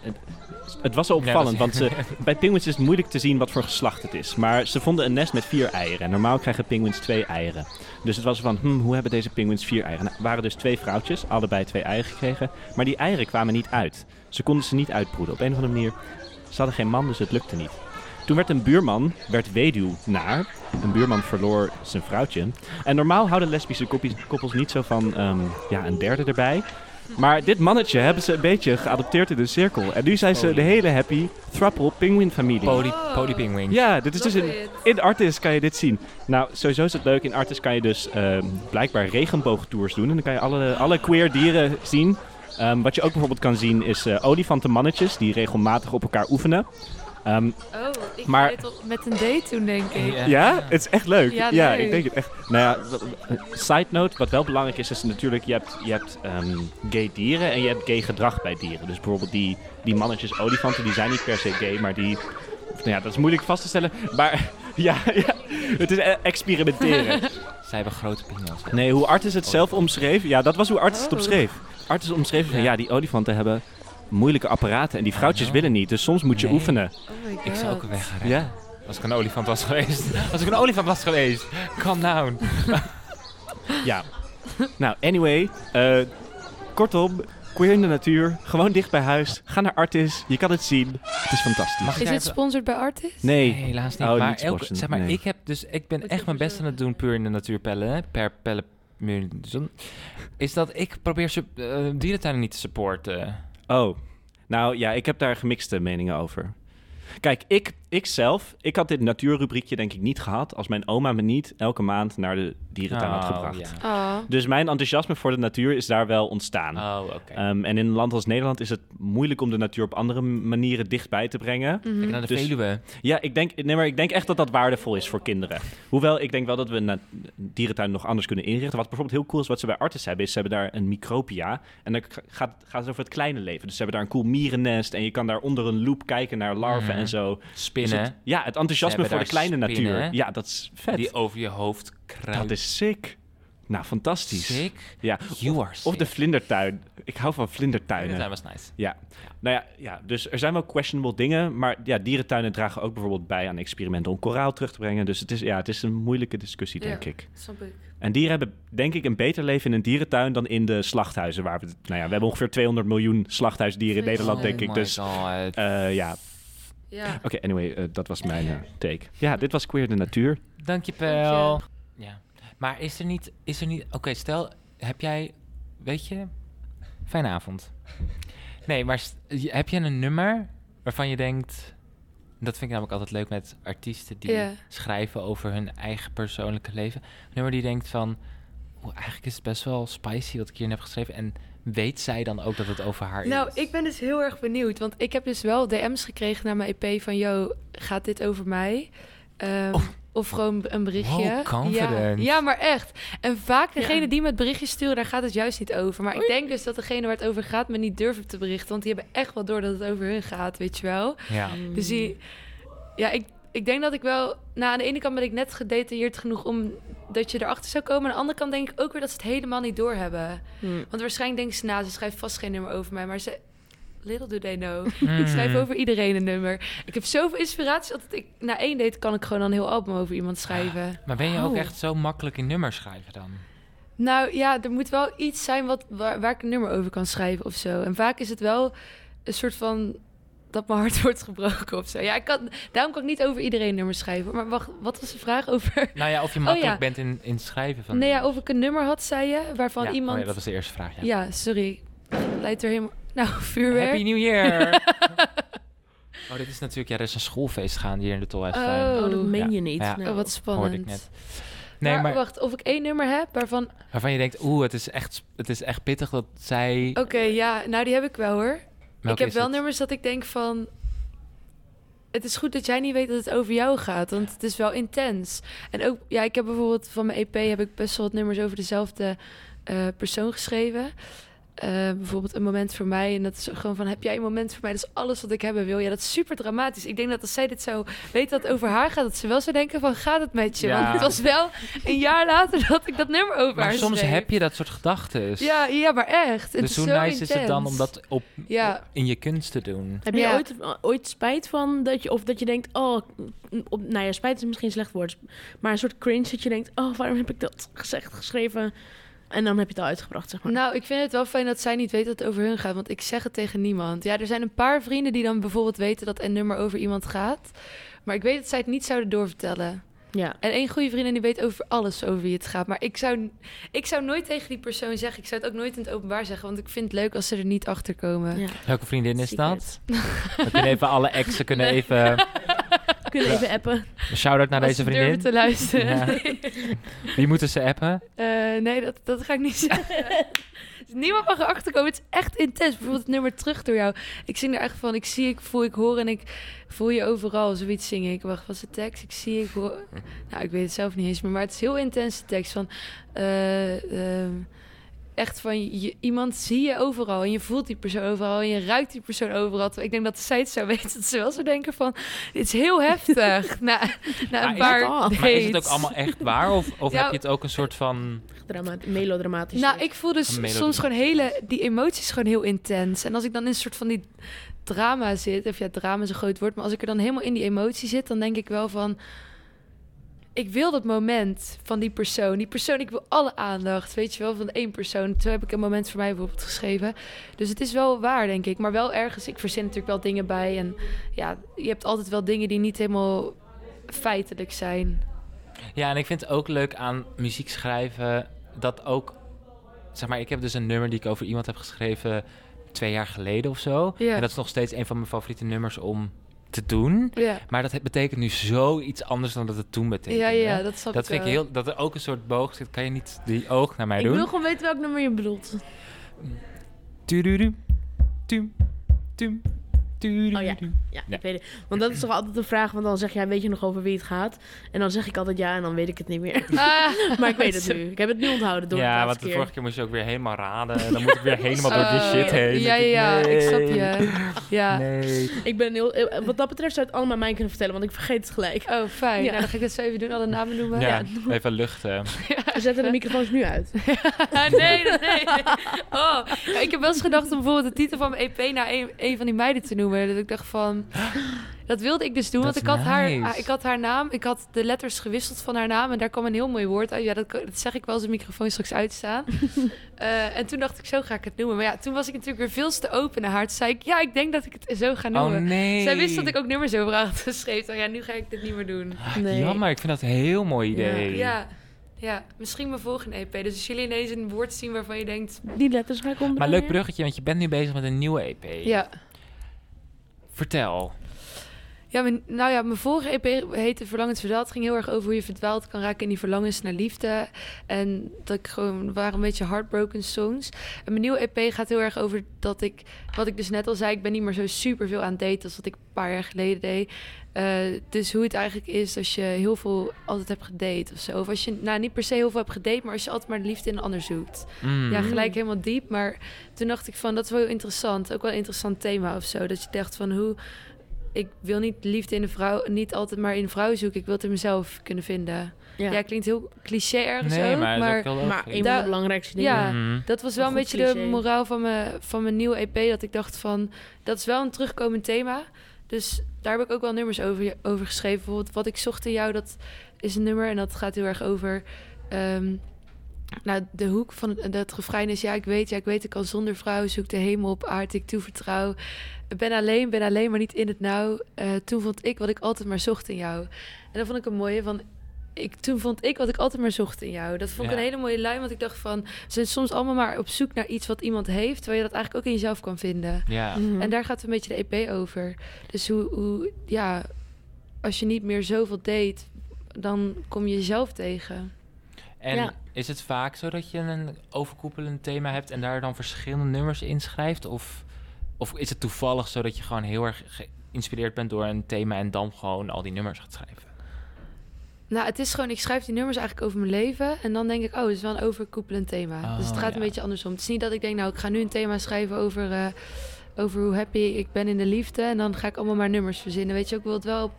Speaker 4: het was al
Speaker 1: Ja, dat-
Speaker 4: opvallend, want ze, bij penguins is het moeilijk te zien wat voor geslacht het is. Maar ze vonden een nest met vier eieren. En normaal krijgen penguins twee eieren. Dus het was van, hmm, hoe hebben deze penguins vier eieren? Nou, er waren dus twee vrouwtjes, allebei twee eieren gekregen. Maar die eieren kwamen niet uit. Ze konden ze niet uitbroeden. Op een of andere manier ze hadden geen man, dus het lukte niet. Toen werd een buurman, werd weduwnaar. Een buurman verloor zijn vrouwtje. En normaal houden lesbische koppies- koppels niet zo van ehm, ja, een derde erbij. Maar dit mannetje hebben ze een beetje geadopteerd in de cirkel. En nu zijn ze de hele happy thruple penguin familie.
Speaker 1: Poly, polypingwing.
Speaker 4: Oh. Ja, dit is dus
Speaker 2: Love
Speaker 4: een,
Speaker 2: it.
Speaker 4: in Artis kan je dit zien. Nou, sowieso is het leuk. In Artis kan je dus ehm, blijkbaar regenboogtours doen. En dan kan je alle, alle queer dieren zien. Ehm, wat je ook bijvoorbeeld kan zien is eh, olifantenmannetjes die regelmatig op elkaar oefenen. Ehm,
Speaker 2: Oh, ik
Speaker 4: Maar-
Speaker 2: maar... met een date toen, denk ik.
Speaker 1: Ja.
Speaker 4: ja, het is echt leuk. Ja,
Speaker 2: Ja, leuk.
Speaker 4: ik denk het echt. Nou ja, w- w- eh, side note, wat wel belangrijk is, is natuurlijk, je hebt, je hebt ehm, gay dieren en je hebt gay gedrag bij dieren. Dus bijvoorbeeld die, die mannetjes olifanten, die zijn niet per se gay, maar die... of Nou ja, dat is moeilijk vast te stellen, maar ja, ja het is eh, experimenteren.
Speaker 1: Zij hebben grote pingels.
Speaker 4: Nee, hoe Artis het zelf omschreef. Ja, dat was hoe Artis het
Speaker 2: Oh.
Speaker 4: omschreef. Artis omschreef van
Speaker 1: Ja.
Speaker 4: ja, die olifanten hebben moeilijke apparaten en die vrouwtjes
Speaker 1: ja.
Speaker 4: willen niet. Dus soms moet je
Speaker 1: Nee.
Speaker 4: oefenen.
Speaker 2: Oh my god.
Speaker 1: Ik zou ook wegrijden.
Speaker 4: Ja.
Speaker 1: Als ik een olifant was geweest. Als ik een olifant was geweest. Calm down.
Speaker 4: Ja. nou, anyway. eh, kortom, queer in de natuur. Gewoon dicht bij huis. Ga naar Artis. Je kan het zien. Het is fantastisch.
Speaker 1: Mag ik
Speaker 2: Is
Speaker 1: daar even-
Speaker 2: dit sponsored bij Artis?
Speaker 1: Nee,
Speaker 4: Nee.
Speaker 1: helaas niet.
Speaker 4: Oh,
Speaker 1: maar
Speaker 4: niet
Speaker 1: elke-
Speaker 4: sporten,
Speaker 1: zeg maar,
Speaker 4: nee.
Speaker 1: ik heb dus, ik ben
Speaker 3: Moet
Speaker 1: echt
Speaker 3: je
Speaker 1: mijn best aan het doen puur in de natuur pellen. hè, Per pellen. meer- zon- Is dat ik probeer sup- eh, dierentuinen niet te supporten.
Speaker 4: Oh. Nou ja, ik heb daar gemixte meningen over. Kijk, ik, ik zelf, ik had dit natuurrubriekje denk ik niet gehad als mijn oma me niet elke maand naar de dierentuin had
Speaker 1: Oh,
Speaker 4: gebracht.
Speaker 1: ja.
Speaker 2: Ah.
Speaker 4: Dus mijn enthousiasme voor de natuur is daar wel ontstaan.
Speaker 1: Oh, oké.
Speaker 4: Ehm, en in een land als Nederland is het moeilijk om de natuur op andere manieren dichtbij te brengen.
Speaker 1: Kijk naar de
Speaker 4: dus-
Speaker 1: Veluwe.
Speaker 4: Ja, ik denk, nee, maar ik denk echt dat dat waardevol is voor kinderen. Hoewel ik denk wel dat we een dierentuin nog anders kunnen inrichten. Wat bijvoorbeeld heel cool is, wat ze bij Artis hebben, is ze hebben daar een micropia. En dan k- gaat, gaat het over het kleine leven. Dus ze hebben daar een cool mierennest en je kan daar onder een loop kijken naar larven
Speaker 1: Mhm.
Speaker 4: en zo. Dus
Speaker 1: Spinnen.
Speaker 4: het- ja, het
Speaker 1: Ze
Speaker 4: enthousiasme
Speaker 1: hebben
Speaker 4: voor de
Speaker 1: daar
Speaker 4: kleine
Speaker 1: spinnen.
Speaker 4: natuur. Ja, dat is vet.
Speaker 1: Die over je hoofd kruipt.
Speaker 4: dat is sick. Nou, fantastisch.
Speaker 1: Sick.
Speaker 4: Ja.
Speaker 1: You are sick.
Speaker 4: Of de vlindertuin. Ik hou van vlindertuinen.
Speaker 1: Dierentuin was nice.
Speaker 4: Ja. nou ja, ja, dus er zijn wel questionable dingen, maar ja, dierentuinen dragen ook bijvoorbeeld bij aan experimenten om koraal terug te brengen. Dus het is, ja, het is een moeilijke discussie,
Speaker 2: Ja.
Speaker 4: denk ik.
Speaker 2: Snap ik.
Speaker 4: En dieren hebben, denk ik, een beter leven in een dierentuin dan in de slachthuizen. Waar we, nou ja, we hebben ongeveer 200 miljoen slachthuisdieren in Nederland,
Speaker 2: Oh
Speaker 4: denk ik.
Speaker 1: my
Speaker 4: Dus
Speaker 1: god.
Speaker 4: eh, ja, oké,
Speaker 2: Ja.
Speaker 4: anyway, eh, dat was mijn eh, take. Ja, dit was Queer de Natuur.
Speaker 1: Dank je, Pel. Ja. Maar is er niet... Is er niet Oké, stel, heb jij... Weet je... Fijne avond. Nee, maar st- je- heb jij een nummer waarvan je denkt... Dat vind ik namelijk altijd leuk met artiesten die
Speaker 2: Ja.
Speaker 1: schrijven over hun eigen persoonlijke leven. Een nummer die denkt van... "Oeh, eigenlijk is het best wel spicy wat ik hierin heb geschreven. En weet zij dan ook dat het over haar
Speaker 2: Nou,
Speaker 1: is?
Speaker 2: ik ben dus heel erg benieuwd. Want ik heb dus wel DM's gekregen naar mijn EP van... Yo, gaat dit over mij? Ehm, Of gewoon een berichtje.
Speaker 1: Oh. Wow,
Speaker 2: ja.
Speaker 1: confident.
Speaker 2: ja, maar echt. En vaak degene
Speaker 3: Ja.
Speaker 2: die me het berichtje sturen, daar gaat het juist niet over. Maar ik denk dus dat degene waar het over gaat me niet durven te berichten. Want die hebben echt wel door dat het over hun gaat, weet je wel.
Speaker 1: Ja.
Speaker 2: Dus die, ja, ik, ik denk dat ik wel. Nou, aan de ene kant ben ik net gedetailleerd genoeg om dat je erachter zou komen. Aan de andere kant denk ik ook weer dat ze het helemaal niet doorhebben.
Speaker 3: Hmm.
Speaker 2: Want waarschijnlijk denken ze, nou, ze schrijft vast geen nummer over mij. Maar ze. Little do they know.
Speaker 1: Hmm.
Speaker 2: Ik
Speaker 1: Mm.
Speaker 2: schrijf over iedereen een nummer. Ik heb zoveel inspiratie. Dat ik, na één date kan ik gewoon al een heel album over iemand schrijven.
Speaker 1: Maar ben je ook
Speaker 3: Oh.
Speaker 1: echt zo makkelijk in nummers schrijven dan?
Speaker 2: Nou ja, er moet wel iets zijn wat, waar, waar ik een nummer over kan schrijven of zo. En vaak is het wel een soort van dat mijn hart wordt gebroken of zo. Ja, ik kan, daarom kan ik niet over iedereen nummers schrijven. Maar wacht, wat was de vraag over?
Speaker 1: Nou ja, of je makkelijk
Speaker 2: Oh, ja.
Speaker 1: bent in, in het schrijven van...
Speaker 2: Nee, ja, of ik een nummer had, zei je, waarvan
Speaker 1: Ja,
Speaker 2: iemand...
Speaker 1: Oh ja, dat was de eerste vraag. Ja.
Speaker 2: Ja, sorry. Leidt er helemaal... Nou,
Speaker 1: Happy
Speaker 2: vuurwerk.
Speaker 1: New Year! oh, dit is natuurlijk... Ja, er is een schoolfeest gaande hier in de Tolhuistuin.
Speaker 3: Oh, dat
Speaker 2: Oh.
Speaker 3: meen
Speaker 1: Ja.
Speaker 3: je niet.
Speaker 1: Ja.
Speaker 3: Nou.
Speaker 2: Oh, wat
Speaker 1: Hoorde ik
Speaker 2: spannend.
Speaker 1: net. Nee, maar
Speaker 2: Wacht, of ik één nummer heb waarvan... Oké,
Speaker 1: waarvan je denkt, oeh, het is echt, het is echt pittig dat zij...
Speaker 2: ja, nou die heb ik wel hoor.
Speaker 1: Welke
Speaker 2: ik heb
Speaker 1: is
Speaker 2: wel
Speaker 1: het?
Speaker 2: nummers dat ik denk van... Het is goed dat jij niet weet dat het over jou gaat, want het is wel intens. En ook, ja, ik heb bijvoorbeeld van mijn EP heb ik best wel wat nummers over dezelfde eh, persoon geschreven. Eh, bijvoorbeeld een moment voor mij en dat is gewoon van heb jij een moment voor mij? Dat is alles wat ik hebben wil. Ja, dat is super dramatisch. Ik denk dat als zij dit zou weten dat het over haar gaat, dat ze wel zou denken van gaat het met je?
Speaker 1: Ja.
Speaker 2: Want het was wel een jaar later dat ik dat nummer over
Speaker 1: Maar
Speaker 2: haar
Speaker 1: soms
Speaker 2: schreef.
Speaker 1: heb je dat soort gedachten.
Speaker 2: ja, ja, maar echt. Het
Speaker 1: dus
Speaker 2: is
Speaker 1: hoe
Speaker 2: zo
Speaker 1: nice is het dan om
Speaker 2: intens.
Speaker 1: dat op,
Speaker 2: Ja.
Speaker 1: in je kunst te doen?
Speaker 3: Heb je
Speaker 2: Ja.
Speaker 3: ooit, ooit spijt van dat je, of dat je denkt, oh, op, nou ja, spijt is misschien een slecht woord, maar een soort cringe dat je denkt, oh, waarom heb ik dat gezegd, geschreven? En dan heb je het al uitgebracht, zeg maar.
Speaker 2: Nou, ik vind het wel fijn dat zij niet weet dat het over hun gaat, want ik zeg het tegen niemand. Ja, er zijn een paar vrienden die dan bijvoorbeeld weten dat een nummer over iemand gaat, maar ik weet dat zij het niet zouden doorvertellen.
Speaker 3: ja.
Speaker 2: En één goede vriendin die weet over alles over wie het gaat, maar ik zou, ik zou nooit tegen die persoon zeggen, ik zou het ook nooit in het openbaar zeggen, want ik vind het leuk als ze er niet achter komen.
Speaker 3: ja.
Speaker 1: Welke vriendin is dat?
Speaker 3: Secret.
Speaker 1: We kunnen even alle exen kunnen
Speaker 2: Nee.
Speaker 1: even...
Speaker 3: We kunnen even appen.
Speaker 1: Een shout-out naar
Speaker 2: Als
Speaker 1: deze
Speaker 2: ze
Speaker 1: vriendin.
Speaker 2: durven te luisteren.
Speaker 1: Ja. Wie moeten ze appen?
Speaker 2: Eh, nee, dat, dat ga ik niet zeggen. Dus Niemand mag erachter komen. Het is echt intens. Bijvoorbeeld het nummer terug door jou. Ik zing er echt van. Ik zie, ik voel, ik hoor en ik voel je overal. Zoiets zing ik. Wacht, wat is de tekst? Ik zie, ik hoor. Nou, ik weet het zelf niet eens meer. Maar het is heel intense tekst van. eh, ehm, echt van je, iemand zie je overal en je voelt die persoon overal en je ruikt die persoon overal. Terwijl Ik denk dat zij het zou weten dat ze wel zou denken van, dit is heel heftig. na, na
Speaker 1: Maar
Speaker 2: een
Speaker 1: is
Speaker 2: paar
Speaker 1: het-
Speaker 2: dates.
Speaker 1: Maar is het ook allemaal echt waar? Of, of
Speaker 2: Ja.
Speaker 1: heb je het ook een soort van...
Speaker 3: Dramat melodramatisch.
Speaker 2: Nou, ik voel dus
Speaker 1: Een melodie.
Speaker 2: soms gewoon hele... Die emoties gewoon heel intens. En als ik dan in een soort van die drama zit... Of ja, drama is een groot woord. Maar als ik er dan helemaal in die emotie zit... Dan denk ik wel van... Ik wil dat moment van die persoon. Die persoon, ik wil alle aandacht. Weet je wel, van één persoon. Toen heb ik een moment voor mij bijvoorbeeld geschreven. Dus het is wel waar, denk ik. Maar wel ergens... Ik verzin natuurlijk wel dingen bij. En ja, je hebt altijd wel dingen die niet helemaal feitelijk zijn.
Speaker 1: Ja, en ik vind het ook leuk aan muziek schrijven dat ook. Zeg maar, ik heb dus een nummer die ik over iemand heb geschreven twee jaar geleden of zo.
Speaker 2: Ja.
Speaker 1: En dat is nog steeds een van mijn favoriete nummers om te doen.
Speaker 2: Ja,
Speaker 1: Maar dat he- betekent nu zoiets anders dan dat het toen betekende.
Speaker 2: ja, ja, dat snap
Speaker 1: Dat
Speaker 2: ik
Speaker 1: vind ik
Speaker 2: wel.
Speaker 1: heel. Dat er ook een soort boog zit. Kan je niet die oog naar mij
Speaker 3: ik
Speaker 1: doen?
Speaker 3: wil gewoon weten welk nummer je bedoelt.
Speaker 1: Tudurum, tum, tum, tudurum.
Speaker 3: Oh ja. Ja,
Speaker 1: Ja.
Speaker 3: ik weet het. Want dat is toch altijd de vraag, want dan zeg jij, weet je nog over wie het gaat? En dan zeg ik altijd ja en dan weet ik het niet meer.
Speaker 2: Ah.
Speaker 3: maar ik weet het nu. Ik heb het nu onthouden door
Speaker 1: Ja,
Speaker 3: de
Speaker 1: want
Speaker 3: laatste
Speaker 1: de
Speaker 3: keer.
Speaker 1: vorige keer moest je ook weer helemaal raden. En dan moet ik weer helemaal door die
Speaker 2: Oh,
Speaker 1: shit heen.
Speaker 2: Ja, ja, ja, ik snap je. Ja.
Speaker 1: Nee.
Speaker 3: Ik ben heel, eh, wat dat betreft zou het allemaal mij kunnen vertellen, want ik vergeet het gelijk.
Speaker 2: Oh, fijn.
Speaker 3: Ja.
Speaker 2: Nou, dan ga ik dat zo even doen, alle namen noemen.
Speaker 1: Ja, even luchten.
Speaker 3: We zetten de microfoons nu uit.
Speaker 2: Ah, nee, dat- nee. Oh, ja, ik heb wel eens gedacht om bijvoorbeeld de titel van mijn EP naar een, een van die meiden te noemen. Dat ik dacht van... Dat wilde ik dus doen, want
Speaker 1: Dat
Speaker 2: ik
Speaker 1: is
Speaker 2: had, haar,
Speaker 1: nice.
Speaker 2: ah, ik had haar naam, ik had de letters gewisseld van haar naam en daar kwam een heel mooi woord uit. Ja, dat, dat zeg ik wel als de microfoon straks uitstaan. Eh, en toen dacht ik, zo ga ik het noemen. Maar ja, toen was ik natuurlijk weer veel te open naar haar. Toen zei ik, ja, ik denk dat ik het zo ga
Speaker 1: Oh
Speaker 2: noemen.
Speaker 1: nee.
Speaker 2: Zij wist dat ik ook nummers over haar had geschreven. Ik dacht, Ja, nu ga ik dit niet meer doen.
Speaker 3: Nee.
Speaker 1: Jammer, ik vind dat een heel mooi idee.
Speaker 2: Ja, ja, misschien mijn volgende EP. Dus als jullie ineens een woord zien waarvan je denkt...
Speaker 3: Die letters ga ik onderbrengen.
Speaker 1: Maar leuk bruggetje, want je bent nu bezig met een nieuwe EP.
Speaker 2: Ja,
Speaker 1: Vertel.
Speaker 2: ja mijn, nou ja, mijn vorige EP heette Verlangens Verdwaald. Het ging heel erg over hoe je verdwaald kan raken in die verlangens naar liefde. En dat ik gewoon, waren een beetje heartbroken songs. En mijn nieuwe EP gaat heel erg over dat ik... Wat ik dus net al zei, ik ben niet meer zo super veel aan het daten... als dat ik een paar jaar geleden deed. Eh, dus hoe het eigenlijk is als je heel veel altijd hebt gedate of zo. Of als je, nou niet per se heel veel hebt gedate... maar als je altijd maar de liefde in een ander zoekt.
Speaker 1: Mm.
Speaker 2: Ja,
Speaker 3: Mm.
Speaker 2: gelijk helemaal diep. Maar toen dacht ik van, dat is wel heel interessant. Ook wel een interessant thema of zo. Dat je dacht van, hoe... Ik wil niet liefde in een vrouw... Niet altijd maar in een vrouw zoeken. Ik wil het in mezelf kunnen vinden. Ja,
Speaker 3: Ja.
Speaker 2: klinkt heel cliché ergens
Speaker 1: nee,
Speaker 2: ook.
Speaker 1: maar,
Speaker 2: Maar,
Speaker 1: dat is ook heel leuk.
Speaker 3: Maar een van
Speaker 2: Daar-
Speaker 3: de belangrijkste dingen.
Speaker 2: ja,
Speaker 1: Mhm.
Speaker 2: dat was wel
Speaker 3: Een
Speaker 2: een,
Speaker 3: goed
Speaker 2: beetje de
Speaker 3: cliché.
Speaker 2: moraal van mijn, van mijn nieuwe EP. Dat ik dacht van, dat is wel een terugkomend thema. Dus daar heb ik ook wel nummers over, over geschreven. Bijvoorbeeld Wat ik zocht in jou, dat is een nummer. En dat gaat heel erg over... ehm, nou, de hoek van het, dat refrein is... Ja, ik weet, ja, ik weet, ik kan zonder vrouw. Zoek de hemel op aarde, ik toevertrouw. Ben alleen, ben alleen, maar niet in het nauw. Eh, toen vond ik wat ik altijd maar zocht in jou. En dat vond ik een mooie van... Ik, toen vond ik wat ik altijd maar zocht in jou. Dat vond ik
Speaker 1: Ja.
Speaker 2: een hele mooie lijn, want ik dacht van... We zijn soms allemaal maar op zoek naar iets wat iemand heeft... terwijl je dat eigenlijk ook in jezelf kan vinden.
Speaker 1: Ja.
Speaker 3: Mhm.
Speaker 2: En daar gaat een beetje de EP over. Dus hoe, hoe, ja, als je niet meer zoveel date, dan kom je jezelf tegen.
Speaker 1: En
Speaker 3: Ja.
Speaker 1: is het vaak zo dat je een overkoepelend thema hebt en daar dan verschillende nummers inschrijft? Of, of is het toevallig zo dat je gewoon heel erg geïnspireerd bent door een thema en dan gewoon al die nummers gaat schrijven?
Speaker 2: Nou, het is gewoon, ik schrijf die nummers eigenlijk over mijn leven. En dan denk ik, oh, het is wel een overkoepelend thema.
Speaker 1: Oh,
Speaker 2: dus het gaat
Speaker 1: ja.
Speaker 2: een beetje andersom. Het is niet dat ik denk, nou, ik ga nu een thema schrijven over, eh, over hoe happy ik ben in de liefde. En dan ga ik allemaal maar nummers verzinnen. Weet je, ook, ik wil het wel op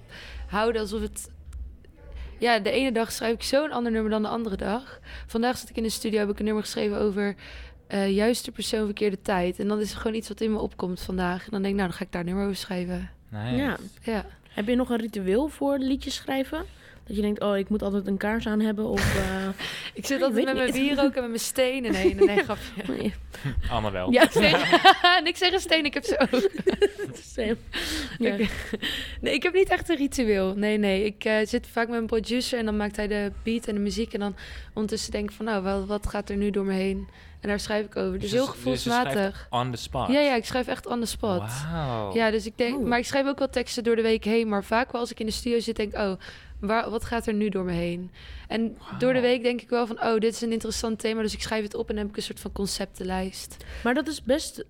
Speaker 2: houden alsof het... Ja, de ene dag schrijf ik zo'n ander nummer dan de andere dag. Vandaag zat ik in de studio, heb ik een nummer geschreven over... eh, juiste persoon, verkeerde tijd. En dan is er gewoon iets wat in me opkomt vandaag. En dan denk ik, nou, dan ga ik daar een nummer over schrijven.
Speaker 1: Nee.
Speaker 3: Mhm. Ja.
Speaker 2: Ja.
Speaker 3: Heb je nog een ritueel voor liedjes schrijven? Dat je denkt, oh, ik moet altijd een kaars aan hebben. Of, eh,
Speaker 2: Ik zit
Speaker 3: Ik
Speaker 2: altijd
Speaker 3: weet
Speaker 2: met mijn
Speaker 3: niet.
Speaker 2: bier ook en met mijn stenen heen. Nee, nee, grapje.
Speaker 3: nee.
Speaker 1: Allemaal wel.
Speaker 3: Ja,
Speaker 2: Steen. en ik zeg een steen, ik heb ze ook.
Speaker 3: same. Ja.
Speaker 2: Oké. Nee, ik heb niet echt een ritueel. Nee, nee. Ik eh, zit vaak met een producer en dan maakt hij de beat en de muziek. En dan ondertussen denk ik van, nou, wel, wat gaat er nu door me heen? En daar schrijf ik over. Dus, heel
Speaker 1: je schrijft
Speaker 2: gevoelsmatig.
Speaker 1: on the spot.
Speaker 2: ja, ja, ik schrijf echt on the spot.
Speaker 1: Wauw.
Speaker 2: Ja, dus ik denk,
Speaker 3: Oeh.
Speaker 2: maar ik schrijf ook wel teksten door de week heen. Maar vaak wel als ik in de studio zit, denk ik, oh, waar, wat gaat er nu door me heen? En door de
Speaker 1: Wauw.
Speaker 2: week denk ik wel van, oh, dit is een interessant thema. Dus ik schrijf het op en dan heb ik een soort van conceptenlijst.
Speaker 3: Maar dat is best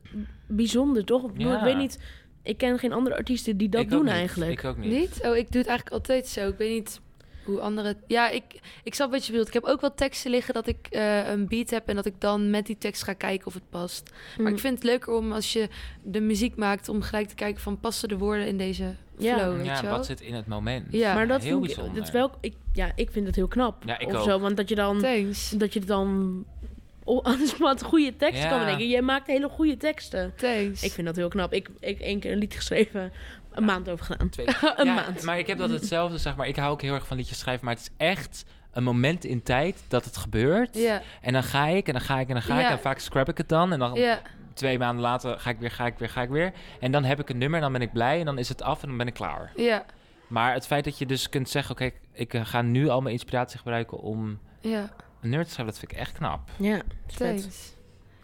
Speaker 3: bijzonder, toch? Ik, bedoel,
Speaker 1: Ja.
Speaker 3: ik weet niet, ik ken geen andere artiesten die dat
Speaker 1: Ik ook
Speaker 3: doen
Speaker 1: niet.
Speaker 3: eigenlijk.
Speaker 1: Ik ook niet.
Speaker 2: Niet? Oh, ik doe het eigenlijk altijd zo. Ik weet niet hoe anderen... Ja, ik, ik snap wat je bedoelt. Ik heb ook wel teksten liggen dat ik eh, een beat heb... en dat ik dan met die tekst ga kijken of het past. Maar
Speaker 3: Mm.
Speaker 2: ik vind het leuker om als je de muziek maakt... om gelijk te kijken van passen de woorden in deze
Speaker 3: Ja.
Speaker 2: flow, weet
Speaker 1: Ja,
Speaker 2: je wel?
Speaker 1: wat zit in het moment?
Speaker 2: Ja.
Speaker 3: maar dat
Speaker 1: heel
Speaker 3: vind ik,
Speaker 1: bijzonder.
Speaker 3: dat is wel, ik, ja, ik vind het heel knap.
Speaker 1: Ja, ik
Speaker 3: of
Speaker 1: ook.
Speaker 3: zo, want dat je dan,
Speaker 2: Thanks.
Speaker 3: dat je dan o- aan de spot goede teksten
Speaker 1: Ja.
Speaker 3: kan bedenken. Jij maakt hele goede teksten.
Speaker 2: Thanks.
Speaker 3: Ik vind dat heel knap. Ik heb één keer een lied geschreven, een maand over gedaan.
Speaker 1: Twee,
Speaker 3: Een
Speaker 1: ja,
Speaker 3: maand.
Speaker 1: Maar ik heb dat hetzelfde, zeg maar. Ik hou ook heel erg van liedjes schrijven, maar het is echt een moment in tijd dat het gebeurt.
Speaker 2: Ja,
Speaker 1: En dan ga ik en dan ga ik en dan ga
Speaker 2: Ja.
Speaker 1: ik. En vaak scrap ik het dan. En dan
Speaker 2: ja.
Speaker 1: twee maanden later ga ik weer, ga ik weer, ga ik weer. En dan heb ik een nummer en dan ben ik blij en dan is het af en dan ben ik klaar.
Speaker 2: Ja,
Speaker 1: Maar het feit dat je dus kunt zeggen, oké, ik eh, ga nu al mijn inspiratie gebruiken om
Speaker 2: ja,
Speaker 1: een nummer te schrijven, dat vind ik echt knap.
Speaker 3: Ja, is vet.
Speaker 2: thanks.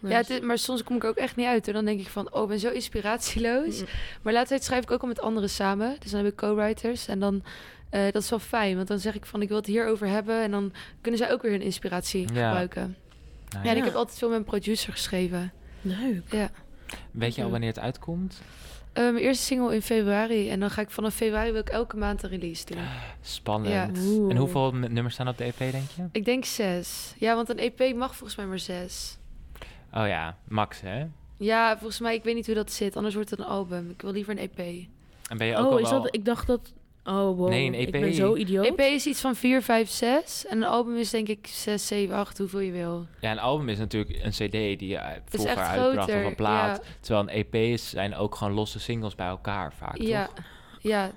Speaker 2: Ja, het is- maar soms kom ik er ook echt niet uit. Hoor. Dan denk ik van, oh, ik ben zo inspiratieloos.
Speaker 3: Mm.
Speaker 2: Maar laatst tijd schrijf ik ook al met anderen samen. Dus dan heb ik co-writers. En dan, eh, dat is wel fijn. Want dan zeg ik van, ik wil het hierover hebben. En dan kunnen zij ook weer hun inspiratie
Speaker 1: Ja.
Speaker 2: gebruiken.
Speaker 1: Nou
Speaker 2: Ja, en
Speaker 1: ja.
Speaker 2: ik heb altijd veel met een producer geschreven.
Speaker 3: Leuk.
Speaker 2: Ja.
Speaker 1: Weet
Speaker 3: Mhm.
Speaker 1: je al wanneer het uitkomt?
Speaker 2: Eh, mijn eerste single in februari. En dan ga ik vanaf februari wil ik elke maand een release doen.
Speaker 1: Spannend.
Speaker 3: Ja. Oeh.
Speaker 1: En hoeveel m- nummers staan op de EP, denk je?
Speaker 2: Ik denk zes. Ja, want een EP mag volgens mij maar zes.
Speaker 1: Oh ja, max, hè?
Speaker 2: Ja, volgens mij, ik weet niet hoe dat zit. Anders wordt het een album. Ik wil liever een E EP.
Speaker 1: En ben je ook
Speaker 3: Oh,
Speaker 1: al
Speaker 3: is
Speaker 1: wel...
Speaker 3: dat, ik dacht dat... Oh, wow.
Speaker 1: Nee, een E
Speaker 3: Ik
Speaker 1: EP.
Speaker 3: ben zo idioot.
Speaker 2: EP E is iets van 4, 5, 6. En een album is denk ik 6, 7, 8, hoeveel je wil.
Speaker 1: Ja, een album is natuurlijk een cd die je eh, vroeger
Speaker 2: echt
Speaker 1: uitbracht
Speaker 2: groter,
Speaker 1: of een plaat. Terwijl een EP's zijn ook gewoon losse singles bij elkaar vaak,
Speaker 2: ja.
Speaker 1: toch?
Speaker 2: ja.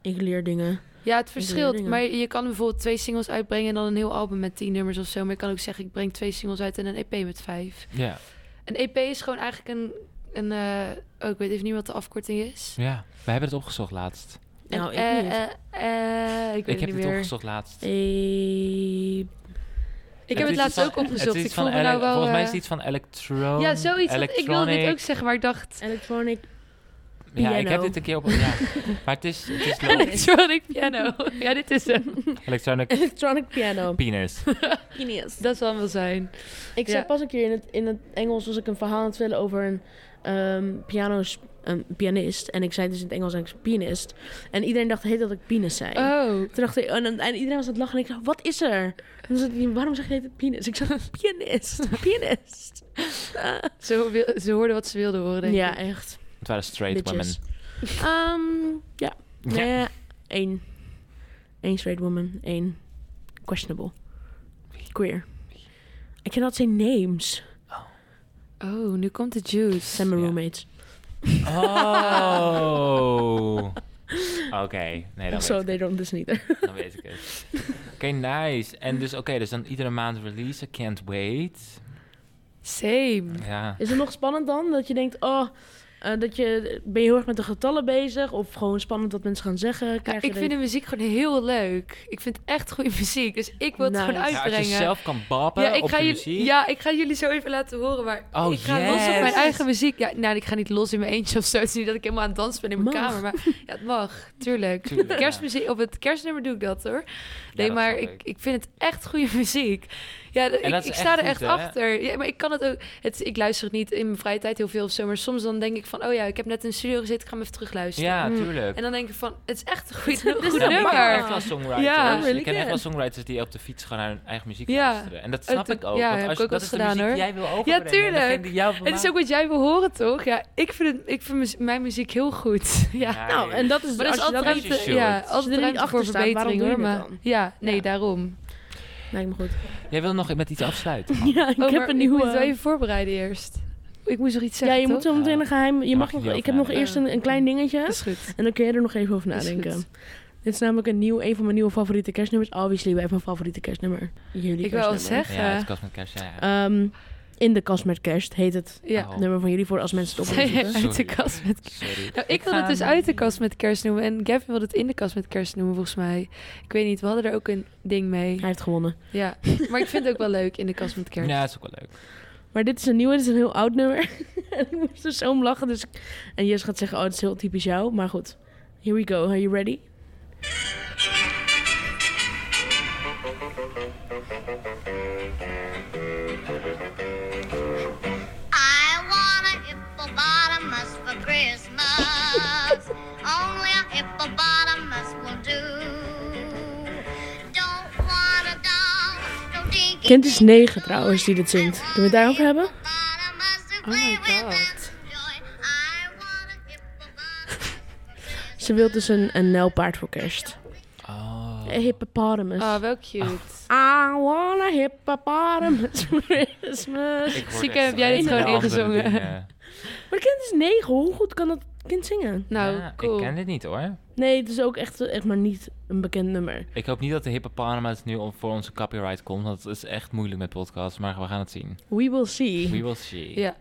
Speaker 3: Ik leer dingen.
Speaker 2: Ja, het
Speaker 3: doe
Speaker 2: verschilt.
Speaker 3: dingen.
Speaker 2: Maar je kan bijvoorbeeld twee singles uitbrengen en dan een heel album met 10 nummers of zo. Maar je kan ook zeggen, ik breng twee singles uit en een EP met vijf.
Speaker 1: Ja.
Speaker 2: Een EP is gewoon eigenlijk een... een eh, oh, ik weet even niet wat de afkorting is.
Speaker 1: ja. We hebben het opgezocht laatst.
Speaker 2: Een-
Speaker 3: Nou, ik
Speaker 2: eh,
Speaker 3: niet.
Speaker 2: eh, eh, ik
Speaker 1: Ik, heb
Speaker 2: weet het
Speaker 1: het
Speaker 2: niet meer.
Speaker 1: opgezocht laatst.
Speaker 3: Eh,
Speaker 2: Ik heb
Speaker 1: is
Speaker 2: het laatst
Speaker 1: iets
Speaker 2: ook
Speaker 1: van-
Speaker 2: opgezocht.
Speaker 1: het is
Speaker 2: Ik
Speaker 1: iets
Speaker 2: voel
Speaker 1: van
Speaker 2: me nou
Speaker 1: ele-
Speaker 2: wel...
Speaker 1: Volgens mij is
Speaker 2: eh,
Speaker 1: het iets van electro...
Speaker 2: ja, zoiets. want Ik wilde dit
Speaker 1: electronic.
Speaker 2: ook zeggen, maar ik dacht...
Speaker 3: electronic
Speaker 1: Ja, ik heb
Speaker 3: piano.
Speaker 1: dit een keer op... Ja. maar het is... Het is logisch.
Speaker 2: Electronic piano. ja, dit is hem.
Speaker 1: Electronic
Speaker 3: Electronic piano.
Speaker 1: penis.
Speaker 2: Dat zal hem wel zijn.
Speaker 3: Ik
Speaker 2: Ja.
Speaker 3: zei pas een keer in het, in het Engels was ik een verhaal aan het vertellen over een ehm pianos, een pianist. En ik zei dus in het Engels eigenlijk pianist. En iedereen dacht heet dat ik penis zei.
Speaker 2: Oh.
Speaker 3: Toen dacht ik, en, en- en iedereen was aan het lachen en ik dacht, wat is er? En toen zei hij, waarom zeg je het penis? Ik zei, pianist, pianist.
Speaker 2: Ze, wil, ze hoorden wat ze wilden horen, denk
Speaker 3: ja,
Speaker 2: ik.
Speaker 3: echt.
Speaker 1: Het waren straight
Speaker 3: Bitches.
Speaker 1: women.
Speaker 3: Ehm, ja,
Speaker 1: Ja.
Speaker 3: nee, één. Eén straight woman, één questionable. Queer. I cannot say names.
Speaker 2: Oh, nu komt de juice.
Speaker 3: Zijn mijn
Speaker 1: Ja.
Speaker 3: roommates.
Speaker 1: Oh. Oké. Nee, dan
Speaker 3: so
Speaker 1: weet,
Speaker 3: they
Speaker 1: ik
Speaker 3: don't dus listen either.
Speaker 1: het. dan weet ik het. Oké, nice. En dus, oké, dus dan iedere maand release. Can't wait.
Speaker 2: Same.
Speaker 1: Ja.
Speaker 2: Mm.
Speaker 3: Is het nog spannend dan? Dat je denkt, oh, Eh, dat je, ben je heel erg met de getallen bezig? Of gewoon spannend wat mensen gaan zeggen?
Speaker 2: Ja,
Speaker 3: Krijg
Speaker 2: ik
Speaker 3: je
Speaker 2: vind de
Speaker 3: de-
Speaker 2: muziek gewoon heel leuk. Ik vind het echt goede muziek. Dus ik wil het
Speaker 3: Nice.
Speaker 2: gewoon
Speaker 3: Ja,
Speaker 1: Ja, als je
Speaker 2: uitbrengen.
Speaker 1: zelf kan babbelen
Speaker 2: ik
Speaker 1: op
Speaker 2: ga
Speaker 1: je
Speaker 2: jullie-
Speaker 1: muziek.
Speaker 2: ja, ik ga jullie zo even laten horen. Maar
Speaker 1: Oh,
Speaker 2: ik ga los op mijn
Speaker 1: yes.
Speaker 2: eigen muziek. Ja, nou, ik ga niet los in mijn eentje of zo. Het is niet dat ik helemaal aan het dansen ben in mijn
Speaker 3: Mag.
Speaker 2: kamer. Maar ja, het mag. Tuurlijk.
Speaker 1: Tuurlijk, ja.
Speaker 2: Kerstmuziek, op het kerstnummer doe ik dat hoor.
Speaker 1: Ja,
Speaker 2: Nee,
Speaker 1: dat
Speaker 2: maar
Speaker 1: snap
Speaker 2: ik, ik vind het echt goede muziek. Ja, de-
Speaker 1: dat
Speaker 2: ik,
Speaker 1: is
Speaker 2: ik
Speaker 1: echt
Speaker 2: sta er
Speaker 1: goed,
Speaker 2: echt
Speaker 1: hè?
Speaker 2: achter. Ja, maar ik kan het ook. Het, ik luister het niet in mijn vrije tijd heel veel of zo. Maar soms dan denk ik van, oh ja, ik heb net in de studio gezeten. Ik ga hem even terugluisteren.
Speaker 1: Ja,
Speaker 3: Mm.
Speaker 1: tuurlijk.
Speaker 2: En dan denk ik van, het is echt een goed,
Speaker 3: is
Speaker 2: goed
Speaker 1: Ja,
Speaker 3: een
Speaker 1: maar ik ken echt
Speaker 2: nummer.
Speaker 1: wel songwriters.
Speaker 2: Ja,
Speaker 1: ik
Speaker 3: really
Speaker 1: ken echt wel
Speaker 3: good.
Speaker 1: songwriters die op de fiets gewoon naar hun eigen muziek
Speaker 2: Ja.
Speaker 1: luisteren. En dat snap
Speaker 2: dat-
Speaker 1: ik ook.
Speaker 2: ja,
Speaker 1: want
Speaker 2: heb
Speaker 1: als,
Speaker 2: ik ook
Speaker 1: dat is
Speaker 2: wel
Speaker 1: de
Speaker 2: gedaan,
Speaker 1: muziek die
Speaker 2: hoor.
Speaker 1: jij wil overbrengen. en
Speaker 2: tuurlijk.
Speaker 1: degene die jou wil
Speaker 2: Het is ook
Speaker 1: maken.
Speaker 2: wat jij wil horen, toch? Ja, ik vind, het, ik vind muz- mijn muziek heel goed. Ja.
Speaker 1: Nice.
Speaker 3: Nou, en dat is,
Speaker 2: Maar dat
Speaker 3: als
Speaker 2: is
Speaker 3: je dat niet-
Speaker 2: altijd
Speaker 1: niet-
Speaker 2: ruimte,
Speaker 1: short.
Speaker 2: ja,
Speaker 1: Als
Speaker 3: je
Speaker 2: altijd
Speaker 3: er niet
Speaker 2: ruimte
Speaker 3: achter
Speaker 2: voor
Speaker 3: staat,
Speaker 2: verbetering
Speaker 3: waarom doe
Speaker 2: hoor.
Speaker 3: je
Speaker 2: Maar
Speaker 3: dat dan?
Speaker 2: ja, nee,
Speaker 3: Ja.
Speaker 2: daarom.
Speaker 3: Lijkt me goed.
Speaker 1: Jij wil nog met iets afsluiten.
Speaker 3: Ja, ik
Speaker 2: Oh,
Speaker 3: heb een
Speaker 2: maar Ik
Speaker 3: nieuwe...
Speaker 2: moet het wel even voorbereiden eerst. Ik moest nog iets
Speaker 3: ja,
Speaker 2: zeggen.
Speaker 3: je moet
Speaker 2: toch?
Speaker 3: zo meteen een geheim... Je
Speaker 1: mag
Speaker 3: mag
Speaker 1: je
Speaker 3: nog,
Speaker 1: niet
Speaker 3: ik heb nog
Speaker 1: over
Speaker 3: eerst een, een klein dingetje.
Speaker 2: Dat is goed.
Speaker 3: En dan kun jij er nog even over
Speaker 2: Is
Speaker 3: nadenken.
Speaker 2: goed.
Speaker 3: Dit is namelijk een, nieuw, een van mijn nieuwe favoriete kerstnummers. Obviously, wij hebben een favoriete kerstnummer. Jullie
Speaker 2: Ik wil al
Speaker 3: kerstnummer.
Speaker 1: Ja, het is
Speaker 2: zeggen.
Speaker 1: kast met kerst. Ja, ja.
Speaker 2: Eh,
Speaker 3: Ehm, in de kast met kerst heet het
Speaker 2: Ja.
Speaker 1: Oh,
Speaker 3: nummer van jullie voor als mensen het op willen zoeken.
Speaker 2: uit de
Speaker 1: Sorry.
Speaker 2: kast met
Speaker 1: sorry.
Speaker 2: Nou, ik
Speaker 1: ga
Speaker 2: wilde het dus
Speaker 1: hem-
Speaker 2: uit de kast met kerst noemen. En Gavin wilde het in de kast met kerst noemen, volgens mij. Ik weet niet, we hadden er ook een ding mee.
Speaker 3: Hij heeft gewonnen.
Speaker 2: Ja, maar ik vind het ook wel leuk in de kast met kerst.
Speaker 1: Ja, dat is ook wel leuk.
Speaker 3: Maar dit is een nieuwe, dit is een heel oud nummer. en ik moest er zo om lachen. Dus... En Jess gaat zeggen, oh, het is heel typisch jou. Maar goed, here we go. Are you ready?
Speaker 6: I want a hippopotamus for Christmas. Only a hippopotamus will do. Don't want a doll, no dinky
Speaker 3: Kind is negen trouwens die dit zingt. Kunnen we het daarover hebben?
Speaker 6: hippopotamus to
Speaker 2: Oh my
Speaker 6: play with and
Speaker 2: God.
Speaker 6: enjoy. I want a hippopotamus.
Speaker 3: Ze wil dus een, een nijlpaard voor kerst.
Speaker 1: Oh.
Speaker 2: Eh,
Speaker 3: Een hippopotamus.
Speaker 2: Oh, wel cute.
Speaker 3: I want a hippopotamus for Christmas.
Speaker 1: Ik hoor
Speaker 2: Zieke,
Speaker 1: echt
Speaker 2: heb jij
Speaker 1: hele
Speaker 2: dit gewoon
Speaker 1: andere
Speaker 2: ingezongen?
Speaker 1: dingen.
Speaker 3: Maar kind is negen. Hoe goed kan dat kind zingen?
Speaker 2: Nou,
Speaker 1: Ja,
Speaker 2: cool.
Speaker 1: Ik ken dit niet hoor.
Speaker 3: Nee, het is ook echt, echt maar niet een bekend nummer.
Speaker 1: Ik hoop niet dat de hippopotamus nu om- voor onze copyright komt. Want het is echt moeilijk met podcasts. Maar we gaan het zien.
Speaker 3: We will see.
Speaker 1: We will see.
Speaker 2: Ja.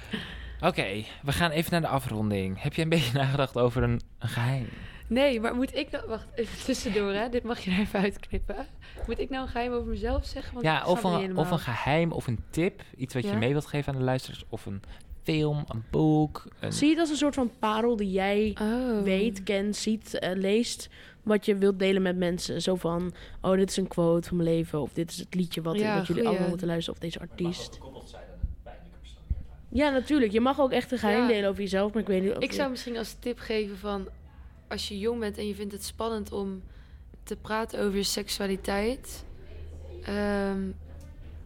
Speaker 1: Oké, we gaan even naar de afronding. Heb jij een beetje nagedacht over een, een
Speaker 2: Oh,
Speaker 1: geheim?
Speaker 2: Nee, maar moet ik nou... Wacht, even tussendoor, hè. Dit mag je er even uitknippen. Moet ik nou een geheim over mezelf zeggen? Want ik
Speaker 1: ja,
Speaker 2: snap
Speaker 1: of
Speaker 2: het niet
Speaker 1: een,
Speaker 2: helemaal.
Speaker 1: of een geheim of een tip. Iets wat
Speaker 2: Ja?
Speaker 1: je mee wilt geven aan de luisteraars. Of een film, een boek. Een...
Speaker 3: Zie je het als een soort van parel die jij
Speaker 2: Oh.
Speaker 3: weet, kent, ziet, eh, leest. Wat je wilt delen met mensen. Zo van, oh, dit is een quote van mijn leven. Of dit is het liedje wat,
Speaker 2: Ja,
Speaker 3: wat jullie
Speaker 2: goeie.
Speaker 3: allemaal moeten luisteren. Of deze artiest. Ja, natuurlijk. Je mag ook echt een geheim
Speaker 2: Ja.
Speaker 3: delen over jezelf. Maar ik weet niet of
Speaker 2: Ik zou misschien als tip geven van... Als je jong bent en je vindt het spannend om te praten over je seksualiteit... ehm,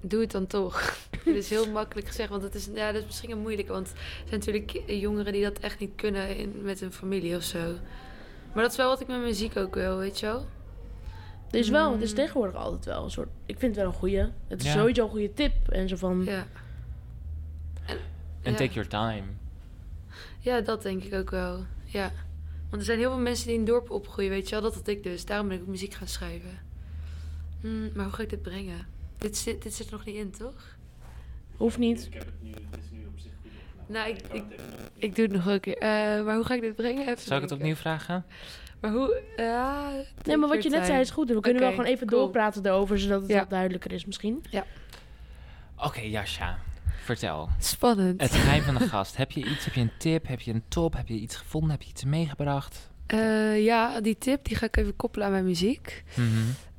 Speaker 2: doe het dan toch. Dit is heel makkelijk gezegd, want het is, ja, dat is misschien een moeilijke. Want er zijn natuurlijk jongeren die dat echt niet kunnen in, met hun familie of zo. Maar dat is wel wat ik met muziek ook wil, weet je wel?
Speaker 3: Het is wel,
Speaker 2: Mm.
Speaker 3: het is tegenwoordig altijd wel een soort... Ik vind het wel een goeie. Het is
Speaker 1: Ja.
Speaker 3: sowieso een goede tip. En zo van...
Speaker 2: Ja. En,
Speaker 1: En
Speaker 2: ja.
Speaker 1: take your time.
Speaker 2: ja, dat denk ik ook wel. Ja. Want er zijn heel veel mensen die in dorpen opgroeien, weet je wel? Dat had ik dus. Daarom ben ik ook muziek gaan schrijven. Hmm, maar hoe ga ik dit brengen? Dit zit, dit zit er nog niet in, toch?
Speaker 3: Hoeft niet.
Speaker 2: Nou, ik, ik, ik doe het nog een keer. Eh, maar hoe ga ik dit brengen? Even
Speaker 1: Zou ik het
Speaker 2: denken.
Speaker 1: opnieuw vragen?
Speaker 2: Maar hoe... ja,
Speaker 3: Nee,
Speaker 2: take
Speaker 3: maar wat
Speaker 2: your
Speaker 3: je net zei
Speaker 2: time.
Speaker 3: is goed. We kunnen wel
Speaker 2: Oké,
Speaker 3: gewoon even
Speaker 2: cool.
Speaker 3: doorpraten daarover, zodat het
Speaker 2: Ja.
Speaker 3: wat duidelijker is misschien.
Speaker 1: Oké, Jascha. Vertel.
Speaker 2: Spannend.
Speaker 1: Het geheim van de gast. Heb je iets? Heb je een tip? Heb je een top? Heb je iets gevonden? Heb je iets meegebracht?
Speaker 2: Eh, ja, die tip die ga ik even koppelen aan mijn muziek.
Speaker 1: Mhm.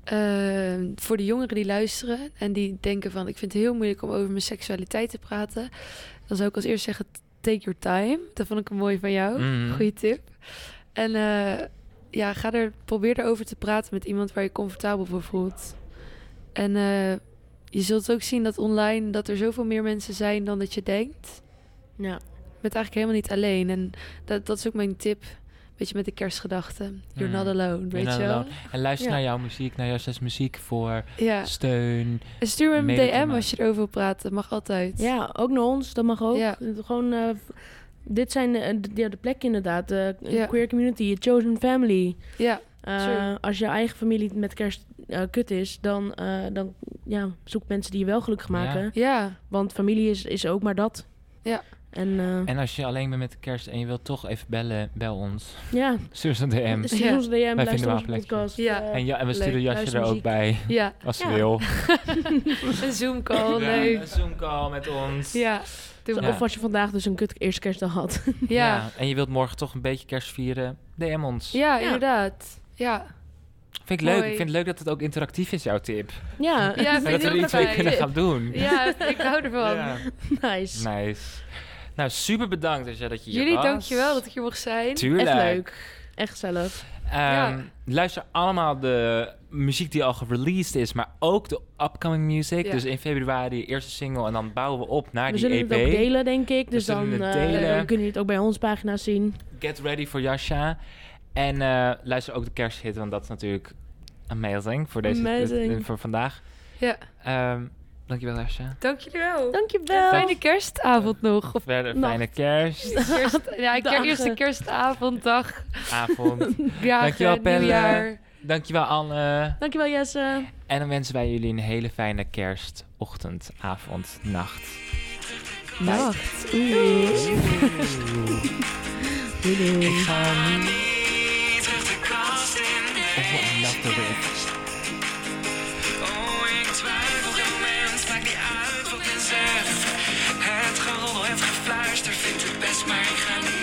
Speaker 2: Eh, voor de jongeren die luisteren en die denken van... ik vind het heel moeilijk om over mijn seksualiteit te praten. Dan zou ik als eerst zeggen, take your time. Dat vond ik een mooie van jou.
Speaker 1: Mhm.
Speaker 2: Goeie tip. En eh, ja, ga er, probeer erover te praten met iemand waar je comfortabel voor voelt. En eh, je zult ook zien dat online dat er zoveel meer mensen zijn dan dat je denkt.
Speaker 3: Ja.
Speaker 2: Je bent eigenlijk helemaal niet alleen. En dat, dat is ook mijn tip. Beetje met de kerstgedachte. You're
Speaker 1: Mm.
Speaker 2: not alone, weet
Speaker 1: not
Speaker 2: je wel?
Speaker 1: alone. En luister
Speaker 3: Ja.
Speaker 1: naar jouw muziek, naar Jascha's muziek voor
Speaker 2: Ja. Mhm.
Speaker 1: steun.
Speaker 2: En stuur me
Speaker 1: Mail het
Speaker 2: een
Speaker 1: je
Speaker 2: DM
Speaker 1: maar.
Speaker 2: als je erover wilt praten. Mag altijd.
Speaker 3: Ja, ook naar ons, dat mag ook.
Speaker 2: Ja.
Speaker 3: Gewoon, eh, dit zijn eh, de, ja, de plekken inderdaad. De
Speaker 2: Ja.
Speaker 3: queer community, je chosen family.
Speaker 2: Ja,
Speaker 3: Eh,
Speaker 2: True.
Speaker 3: als je eigen familie met kerst eh, kut is, dan, eh, dan ja, zoek mensen die je wel gelukkig maken.
Speaker 2: ja.
Speaker 3: Want familie is, is ook maar dat.
Speaker 2: Ja.
Speaker 3: En eh,
Speaker 1: En als je alleen bent met de kerst en je wilt toch even bellen, bel ons.
Speaker 3: ja,
Speaker 1: Stuur ons een DM.
Speaker 3: stuur
Speaker 2: Ja.
Speaker 3: ons een DM,
Speaker 1: Wij
Speaker 3: luister
Speaker 1: vinden
Speaker 3: onze
Speaker 1: wel een plekje.
Speaker 3: podcast.
Speaker 2: Ja.
Speaker 3: eh,
Speaker 1: En, ja, en we
Speaker 2: leuk.
Speaker 1: sturen Jasje
Speaker 3: Luister
Speaker 1: er ook
Speaker 3: muziek.
Speaker 1: bij,
Speaker 2: Ja,
Speaker 1: als ze
Speaker 3: Ja.
Speaker 1: wil.
Speaker 2: een Zoom-call,
Speaker 1: Ja,
Speaker 2: leuk.
Speaker 1: Een Zoom-call met ons.
Speaker 2: Ja, doe
Speaker 3: zo-
Speaker 1: Ja.
Speaker 2: maar.
Speaker 3: Of als je vandaag dus een kut eerste kerstdag had.
Speaker 2: Ja,
Speaker 1: En je wilt morgen toch een beetje kerst vieren, DM ons.
Speaker 2: ja inderdaad. Ja,
Speaker 1: Vind ik leuk.
Speaker 2: Mooi.
Speaker 1: Ik vind het leuk dat het ook interactief is, jouw tip.
Speaker 3: ja,
Speaker 2: Ja,
Speaker 1: En dat
Speaker 2: vind
Speaker 1: we
Speaker 2: ik
Speaker 1: er
Speaker 2: ook
Speaker 1: iets mee
Speaker 2: fijn.
Speaker 1: kunnen gaan doen.
Speaker 2: ja ik hou ervan.
Speaker 1: Ja.
Speaker 3: nice.
Speaker 1: Nice. Nou, super bedankt Asja, dat je hier
Speaker 2: Jullie,
Speaker 1: was.
Speaker 2: dankjewel dat ik hier mocht zijn.
Speaker 1: Tuurlijk.
Speaker 3: Echt leuk. Echt zelf.
Speaker 1: Ehm,
Speaker 2: Ja.
Speaker 1: Luister allemaal de muziek die al gereleased is, maar ook de upcoming music.
Speaker 2: Ja.
Speaker 1: Dus in februari eerste single en dan bouwen we op naar
Speaker 3: We
Speaker 1: die E
Speaker 3: zullen
Speaker 1: EP.
Speaker 3: het ook delen, denk ik. Dus
Speaker 1: zullen
Speaker 3: dan,
Speaker 1: het
Speaker 3: eh,
Speaker 1: delen.
Speaker 3: dan kunnen jullie het ook bij onze pagina zien.
Speaker 1: Get ready for Jasja. En eh, luister ook de kersthit, want dat is natuurlijk amazing voor, deze, eh,
Speaker 3: Amazing.
Speaker 1: voor vandaag.
Speaker 2: Ja,
Speaker 1: Ehm, dankjewel Jasja.
Speaker 2: dank jullie wel.
Speaker 3: Dankjewel.
Speaker 2: Fijne kerstavond nog. Of
Speaker 1: Verder
Speaker 3: nacht.
Speaker 1: fijne kerst,
Speaker 2: kerst, ja, ik
Speaker 3: Dagen.
Speaker 2: eerste kerstavond, dag,
Speaker 1: avond.
Speaker 2: dagen,
Speaker 1: Dankjewel, Pelle.
Speaker 2: nieuwjaar.
Speaker 1: dankjewel Anne.
Speaker 3: Dankjewel, Jesse.
Speaker 1: En dan wensen wij jullie een hele fijne kerst, ochtend, avond, nacht.
Speaker 3: Nacht. Oeh. Doei, doei.
Speaker 1: Ik ga niet
Speaker 7: terug de kast in
Speaker 1: op mijn
Speaker 7: deze
Speaker 1: nachten weer.
Speaker 7: Oh, ik twijfel geen mens, maakt niet uit wat men zegt. Het geroddel, het gefluister, vindt het best, maar ik ga niet.